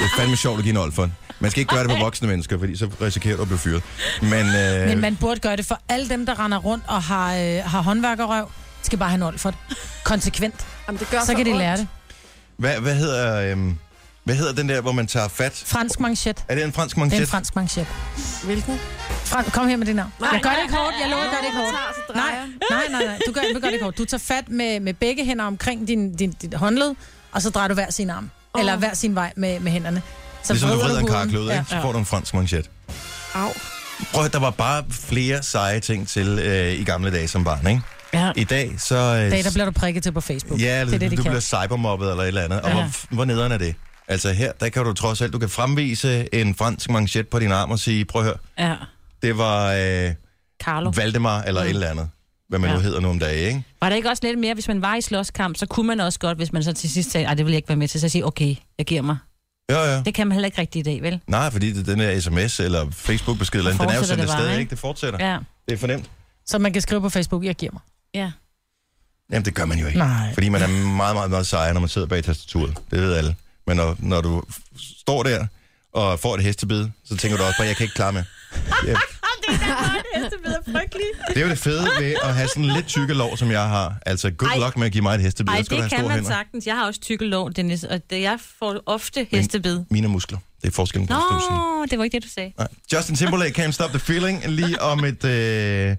[SPEAKER 3] er fandme sjovt at give en old for. Man skal ikke gøre det på voksne mennesker, fordi så risikerer du at blive fyret. Men, øh,
[SPEAKER 5] Men man burde gøre det for alle dem, der render rundt og har, øh, har håndværkerøv. Skal bare have en olfert. Konsekvent.
[SPEAKER 6] Jamen, det gør
[SPEAKER 5] Så kan de lære det.
[SPEAKER 3] hvad, hvad, hedder, øh, hvad hedder den der, hvor man tager fat?
[SPEAKER 5] Fransk manchet.
[SPEAKER 3] Er det en fransk
[SPEAKER 5] Det er
[SPEAKER 3] manchet?
[SPEAKER 5] en fransk manchet.
[SPEAKER 6] Hvilken?
[SPEAKER 5] Fran- kom her med dit navn. Jeg gør det ikke hårdt. Jeg lover, jeg gør det ikke hårdt.
[SPEAKER 6] Tager, så
[SPEAKER 5] Nej,
[SPEAKER 6] drejer.
[SPEAKER 5] nej, nej, nej. Du gør, du gør det ikke hårdt. Du tager fat med, med begge hænder omkring din, din, dit håndled, og så drejer du hver sin arm. Oh. Eller hver sin vej med, med hænderne. Så
[SPEAKER 3] ligesom du vrider en
[SPEAKER 5] huden.
[SPEAKER 3] karklud, ikke? så får du en fransk manchet.
[SPEAKER 6] Au.
[SPEAKER 3] Prøv at der var bare flere seje ting til øh, i gamle dage som barn, ikke?
[SPEAKER 5] Ja.
[SPEAKER 3] I dag, så... Øh,
[SPEAKER 5] Data bliver du prikket til på Facebook.
[SPEAKER 3] Ja, eller
[SPEAKER 5] det er det, de
[SPEAKER 3] du
[SPEAKER 5] kan.
[SPEAKER 3] bliver cybermobbet eller et eller andet. Og
[SPEAKER 5] Ja.
[SPEAKER 3] hvor, hvor nederen er det? Altså her, der kan du trods alt, du kan fremvise en fransk manchet på din arm og sige, prøv at høre,
[SPEAKER 4] Ja.
[SPEAKER 3] det var øh,
[SPEAKER 4] Carlo.
[SPEAKER 3] Valdemar eller et eller andet, hvad man ja. nu
[SPEAKER 4] Ja.
[SPEAKER 3] hedder nu om dagen, ikke?
[SPEAKER 4] Var det ikke også lidt mere, hvis man var i slåskamp, så kunne man også godt, hvis man så til sidst sagde, at det vil jeg ikke være med til, så sige, okay, jeg giver mig.
[SPEAKER 3] Ja, ja.
[SPEAKER 4] Det kan man heller ikke rigtigt i dag, vel?
[SPEAKER 3] Nej, fordi det- den der sms eller Facebook-besked, eller andet, den er jo
[SPEAKER 4] fortsætter
[SPEAKER 3] sendt
[SPEAKER 4] det bare,
[SPEAKER 3] afsted,
[SPEAKER 4] ikke?
[SPEAKER 3] ikke? Det fortsætter. Ja.
[SPEAKER 4] Ja.
[SPEAKER 3] Det er fornemt.
[SPEAKER 5] Så man kan skrive på Facebook, jeg giver mig.
[SPEAKER 4] Ja.
[SPEAKER 3] Jamen, det gør man jo ikke.
[SPEAKER 5] Nej.
[SPEAKER 3] Fordi man er meget, meget, meget sejere, når man sidder bag tastaturet. Det ved alle. Men når, når du f- står der og får et hestebid, så tænker du også bare, jeg kan ikke klare med. Ja. det er jo det fede ved at have sådan lidt tykke lov, som jeg har. Altså, good
[SPEAKER 4] Ej.
[SPEAKER 3] luck med at give mig et hestebid.
[SPEAKER 4] Ej,
[SPEAKER 3] Så skal du have
[SPEAKER 4] det kan
[SPEAKER 3] store
[SPEAKER 4] man
[SPEAKER 3] hænder.
[SPEAKER 4] sagtens. Jeg har også tykke lån, Dennis, og det, jeg får ofte hestebid.
[SPEAKER 3] Mine er muskler. Det er forskellen på
[SPEAKER 4] Nå,
[SPEAKER 3] støvsugen.
[SPEAKER 4] det var ikke det, du sagde.
[SPEAKER 3] Nej. Justin Timberlake, Can't Stop the Feeling, lige om et, øh,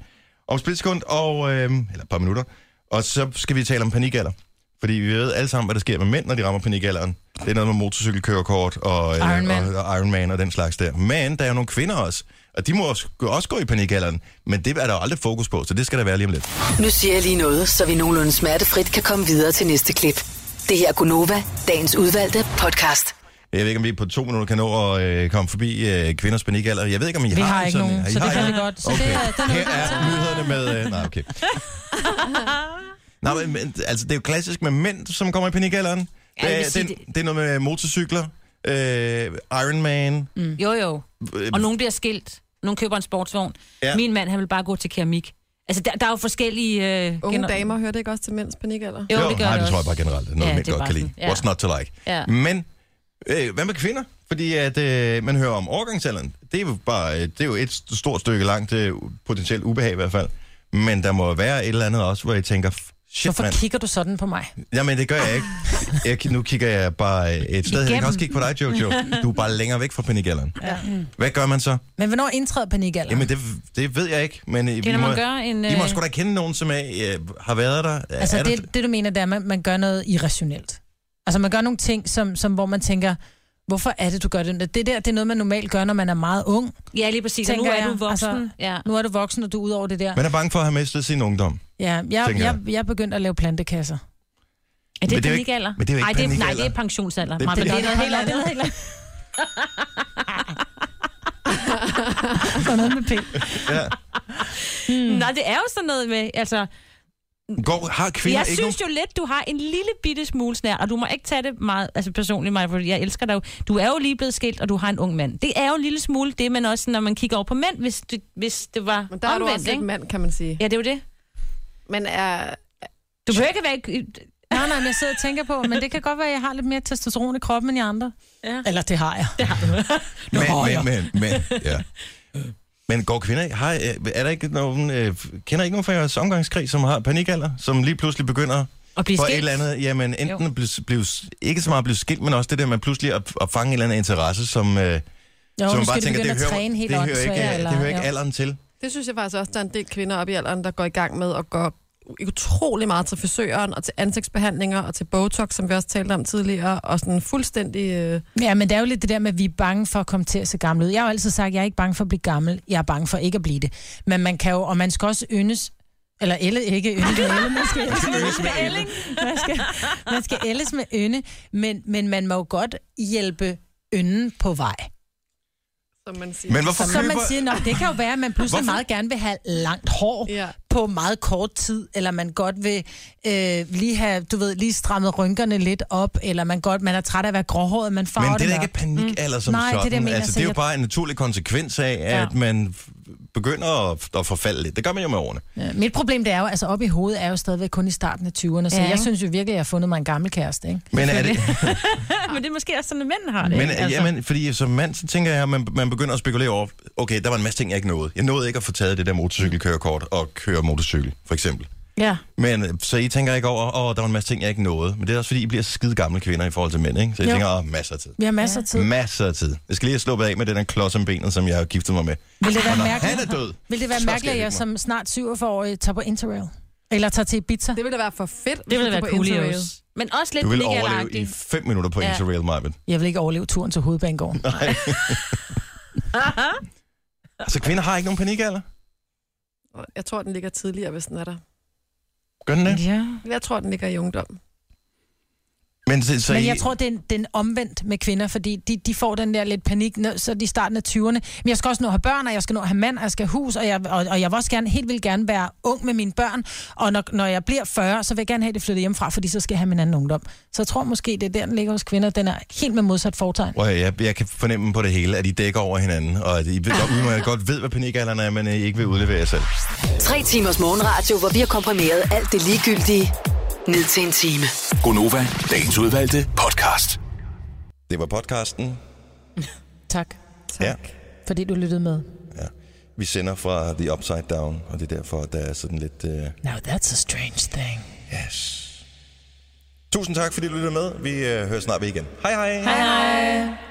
[SPEAKER 3] om et splitsekund, og, øh, eller et par minutter. Og så skal vi tale om panikalder. Fordi vi ved alle sammen, hvad der sker med mænd, når de rammer panikalderen. Det er noget med motorcykelkørekort og, øh,
[SPEAKER 5] Iron Man.
[SPEAKER 3] og, og Iron Man og den slags der. Men der er jo nogle kvinder også, og de må også, også gå i panikalderen. Men det er der jo aldrig fokus på, så det skal der være lige om lidt.
[SPEAKER 1] Nu siger jeg lige noget, så vi nogenlunde smertefrit kan komme videre til næste klip. Det her er Gunova, dagens udvalgte podcast.
[SPEAKER 3] Jeg ved ikke, om vi på to minutter kan nå at øh, komme forbi øh, kvinders panikalder. Jeg ved ikke, om I
[SPEAKER 5] Vi har
[SPEAKER 3] en
[SPEAKER 5] ikke
[SPEAKER 3] sådan en.
[SPEAKER 5] nogen,
[SPEAKER 3] I
[SPEAKER 5] så
[SPEAKER 3] har
[SPEAKER 5] det
[SPEAKER 3] ikke-
[SPEAKER 5] kan vi godt. Så
[SPEAKER 3] Okay,
[SPEAKER 5] det er, den er
[SPEAKER 3] her er nyhederne med... Øh, nej, okay. Nej, men, men altså, det er jo klassisk med mænd, som kommer i panikalderen.
[SPEAKER 4] Ja, jeg
[SPEAKER 3] det,
[SPEAKER 4] vil
[SPEAKER 3] er-
[SPEAKER 4] sige,
[SPEAKER 3] det, det er noget med motorcykler, øh, Iron Man. Mm.
[SPEAKER 4] Jo, jo.
[SPEAKER 3] Øh,
[SPEAKER 4] Og nogen bliver skilt. Nogen køber en sportsvogn.
[SPEAKER 3] Ja.
[SPEAKER 4] Ja. Min mand, han vil bare gå til keramik. Altså, der, der er jo forskellige... Øh,
[SPEAKER 6] Unge
[SPEAKER 4] gener-
[SPEAKER 6] damer hører det ikke også til mænds panikalder?
[SPEAKER 4] Jo, det gør
[SPEAKER 3] nej, det
[SPEAKER 4] det
[SPEAKER 3] tror jeg
[SPEAKER 4] også.
[SPEAKER 3] bare generelt. Det er noget,
[SPEAKER 4] Ja,
[SPEAKER 3] ja, mænd
[SPEAKER 4] det er
[SPEAKER 3] godt
[SPEAKER 4] bare
[SPEAKER 3] kan lide.
[SPEAKER 4] sådan, ja.
[SPEAKER 3] What's not to like?
[SPEAKER 4] Ja.
[SPEAKER 3] Men øh, hvad med kvinder? Fordi at øh, man hører om overgangsalderen. Det er jo, bare, øh, det er jo et st- stort stykke langt øh, potentielt ubehag i hvert fald. Men der må være et eller andet også, hvor jeg tænker, f- shit
[SPEAKER 5] Hvorfor
[SPEAKER 3] mand.
[SPEAKER 5] kigger du sådan på mig?
[SPEAKER 3] Jamen, det gør jeg ikke. Jeg, ki- nu kigger jeg bare øh, et sted hen. Jeg kan
[SPEAKER 4] Igennem. Mm.
[SPEAKER 3] også kigge på dig, Jojo. Du er bare længere væk fra panikalderen. Ja. Hvad gør man så?
[SPEAKER 5] Men hvornår indtræder panikalderen?
[SPEAKER 3] Jamen, det, det ved jeg ikke. Men det
[SPEAKER 4] når man gør en,
[SPEAKER 3] I må
[SPEAKER 4] øh,
[SPEAKER 3] sgu da kende nogen, som er, øh, har været der.
[SPEAKER 5] Altså
[SPEAKER 3] er der
[SPEAKER 5] det, det, du mener, det er, at man, man gør noget irrationelt. Altså man gør nogle ting, som, som, hvor man tænker, hvorfor er det, du gør det? Det der, det er noget, man normalt gør, når man er meget ung.
[SPEAKER 4] Ja, lige præcis. Og nu
[SPEAKER 5] Tænker
[SPEAKER 4] er du
[SPEAKER 5] jeg,
[SPEAKER 4] voksen.
[SPEAKER 5] altså-
[SPEAKER 4] Altså, ja.
[SPEAKER 5] Nu er du voksen, og du er ud over det der.
[SPEAKER 3] man er bange for at have mistet sin ungdom.
[SPEAKER 5] Ja, jeg,
[SPEAKER 3] tænker
[SPEAKER 5] jeg, jeg er begyndt at lave plantekasser.
[SPEAKER 4] Er
[SPEAKER 3] Men
[SPEAKER 4] det,
[SPEAKER 3] det er jo ikke-
[SPEAKER 4] panikalder?
[SPEAKER 3] men det er jo ikke
[SPEAKER 4] Ej, det, nej,
[SPEAKER 3] panikalder.
[SPEAKER 4] det er pensionsalder.
[SPEAKER 3] Det er
[SPEAKER 4] Det, det, det er noget helt andet.
[SPEAKER 5] noget helt andet. Og noget med P.
[SPEAKER 3] Ja.
[SPEAKER 4] Mm. Nej, det er jo sådan noget med, altså...
[SPEAKER 3] Går, har kvinder
[SPEAKER 4] Jeg
[SPEAKER 3] ikke
[SPEAKER 4] synes jo lidt, du har en lille bitte smule snær, og du må ikke tage det meget, altså personligt mig, for jeg elsker dig jo. Du er jo lige blevet skilt, og du har en ung mand. Det er jo en lille smule det, men også når man kigger over på mænd, hvis det, hvis det var
[SPEAKER 6] Men der er du
[SPEAKER 4] omvendt,
[SPEAKER 6] også lidt
[SPEAKER 4] ikke?
[SPEAKER 6] mand, kan man sige.
[SPEAKER 4] Ja, det er jo det.
[SPEAKER 6] Men er,
[SPEAKER 4] Du behøver ikke være...
[SPEAKER 5] Nej, nej, men jeg sidder og tænker på, men det kan godt være, at jeg har lidt mere testosteron i kroppen end de andre.
[SPEAKER 4] Ja.
[SPEAKER 5] Eller det har jeg.
[SPEAKER 3] nogen... Men, men, men, men, ja. Men går kvinder ikke... Har, øh, er der ikke nogen... Øh, kender I ikke nogen fra jeres omgangskreds, som har panikalder, som lige pludselig begynder
[SPEAKER 4] At blive
[SPEAKER 3] på
[SPEAKER 4] skilt.
[SPEAKER 3] et eller andet, jamen enten
[SPEAKER 4] Jo.
[SPEAKER 3] at blive, blive, ikke så meget at blive skilt, men også det der med pludselig at, at fange en eller anden interesse, som, øh,
[SPEAKER 5] Jo,
[SPEAKER 3] som
[SPEAKER 5] nu
[SPEAKER 3] man bare
[SPEAKER 5] skal de
[SPEAKER 3] tænker,
[SPEAKER 5] begynde
[SPEAKER 3] det
[SPEAKER 5] at
[SPEAKER 3] hører,
[SPEAKER 5] træne helt
[SPEAKER 3] det hører
[SPEAKER 5] åndssvagt,
[SPEAKER 3] ikke, øh, det hører ikke
[SPEAKER 5] jo.
[SPEAKER 3] alderen til.
[SPEAKER 6] det synes jeg faktisk også, der er en del kvinder op i alderen, der går i gang med at gå utrolig meget til frisøren og til ansigtsbehandlinger og til Botox, som vi også talte om tidligere, og sådan fuldstændig... Øh,
[SPEAKER 5] Ja, men det er jo lidt det der med, at vi er bange for at komme til at se gammel ud. Jeg har jo altid sagt, at jeg er ikke bange for at blive gammel. Jeg er bange for ikke at blive det. Men man kan jo, og man skal også yndes, eller elle, ikke ynde med elle, man skal yndes med elle. Man skal, man skal ældes med ynde, men, men man må jo godt hjælpe ynden på vej.
[SPEAKER 6] som man siger.
[SPEAKER 3] Men hvorfor
[SPEAKER 5] Så man
[SPEAKER 3] køber...
[SPEAKER 5] siger, at det kan jo være, at man pludselig
[SPEAKER 3] Hvorfor?
[SPEAKER 5] Hvorfor? meget gerne vil have langt hår
[SPEAKER 6] Ja.
[SPEAKER 5] på meget kort tid, eller man godt vil øh, lige have, du ved, lige strammet rynkerne lidt op, eller man godt, man er træt af at være gråhåret, man farver
[SPEAKER 3] Men det er da
[SPEAKER 5] mørkt.
[SPEAKER 3] ikke panikalder som
[SPEAKER 5] Mm. Nej, det er det,
[SPEAKER 3] sådan.
[SPEAKER 5] jeg mener,
[SPEAKER 3] altså,
[SPEAKER 5] så
[SPEAKER 3] det er jo
[SPEAKER 5] jeg-
[SPEAKER 3] bare en naturlig konsekvens af, at
[SPEAKER 4] Ja.
[SPEAKER 3] man begynder at, at forfalde lidt. Det gør man jo med årene.
[SPEAKER 5] Ja, mit problem det er jo, altså op i hovedet er jo stadigvæk kun i starten af 20'erne, så
[SPEAKER 13] Ja,
[SPEAKER 5] ja,
[SPEAKER 13] ikke?
[SPEAKER 5] jeg synes jo virkelig, at jeg har fundet mig en gammel kæreste, ikke?
[SPEAKER 3] Men er det,
[SPEAKER 4] Men det er måske også sådan, at mænd har det.
[SPEAKER 3] men,
[SPEAKER 4] ikke?
[SPEAKER 3] altså. jamen, fordi som mand, så tænker jeg, at man, man begynder at spekulere over, okay, der var en masse ting, jeg ikke nåede. Jeg nåede ikke at få taget det der motorcykelkørekort og køre motorcykel, for eksempel.
[SPEAKER 4] Ja.
[SPEAKER 3] Men øh, så I tænker ikke over, åh, der var en masse ting, jeg ikke nåede. Men det er også fordi, I bliver skide gamle kvinder i forhold til mænd, ikke? Så I
[SPEAKER 5] Jo.
[SPEAKER 3] tænker, åh, masser af tid.
[SPEAKER 5] Vi har masser af tid.
[SPEAKER 3] Masser af tid. Jeg skal lige have sluppet af med den der klods om benet, som jeg har giftet mig med.
[SPEAKER 5] Vil det
[SPEAKER 3] Og når
[SPEAKER 5] være
[SPEAKER 3] han er
[SPEAKER 5] mærkeligt,
[SPEAKER 3] død,
[SPEAKER 5] vil det være
[SPEAKER 3] så skal
[SPEAKER 5] mærkeligt at
[SPEAKER 3] hygge
[SPEAKER 5] jeg
[SPEAKER 3] mig.
[SPEAKER 5] som snart 47-årig tager på Interrail? Eller tager til Ibiza?
[SPEAKER 6] Det ville da være for fedt, hvis
[SPEAKER 4] Det
[SPEAKER 6] du
[SPEAKER 4] ville være
[SPEAKER 6] tog på
[SPEAKER 4] cool,
[SPEAKER 6] Interrail.
[SPEAKER 4] Jos. Men også lidt
[SPEAKER 3] Du vil overleve i
[SPEAKER 4] Miguel-agtigt.
[SPEAKER 3] fem minutter på
[SPEAKER 4] Ja.
[SPEAKER 3] Interrail, Marvin.
[SPEAKER 5] Jeg vil ikke overleve turen til Hovedbanegården.
[SPEAKER 3] Altså, kvinder har ikke nogen panik, eller?
[SPEAKER 6] Jeg tror, den ligger tidligere, hvis den er der.
[SPEAKER 3] Gør den det?
[SPEAKER 4] Ja.
[SPEAKER 6] Jeg tror, den ligger i ungdom.
[SPEAKER 3] Men, så, så
[SPEAKER 5] Men
[SPEAKER 3] I-
[SPEAKER 5] jeg tror, den, den omvendt med kvinder, fordi de, de får den der lidt panik, når- så de starten af 20'erne. Men jeg skal også nå at have børn, og jeg skal nå at have mand, og jeg skal have hus, og jeg, og, og jeg vil også gerne, helt vildt gerne være ung med mine børn. Og når, når jeg bliver 40, så vil jeg gerne have det flyttet hjemmefra, fordi så skal jeg have min anden ungdom. Så jeg tror måske, det er der, den ligger hos kvinder. Den er helt med modsat fortegn.
[SPEAKER 3] Prøv at høre, jeg, jeg kan fornemme på det hele, at I dækker over hinanden, og at I ved, godt- udmærket godt ved, hvad panikalderen er, men øh, I ikke vil udlevere jer selv.
[SPEAKER 1] Tre timers morgenradio, hvor vi har komprimeret alt det ligegyldige ned til en time.
[SPEAKER 2] Gonova, dagens udvalgte podcast.
[SPEAKER 3] Det var podcasten.
[SPEAKER 5] Tak,
[SPEAKER 6] Tak.
[SPEAKER 3] Ja.
[SPEAKER 5] fordi du lyttede med.
[SPEAKER 3] Ja. Vi sender fra The Upside Down, og det er derfor, at der er sådan lidt... Uh,
[SPEAKER 5] Now that's a strange thing.
[SPEAKER 3] øh, yes. Tusind tak, fordi du lyttede med. Vi uh, hører snart ved igen. Hej hej!
[SPEAKER 4] Hej, hej.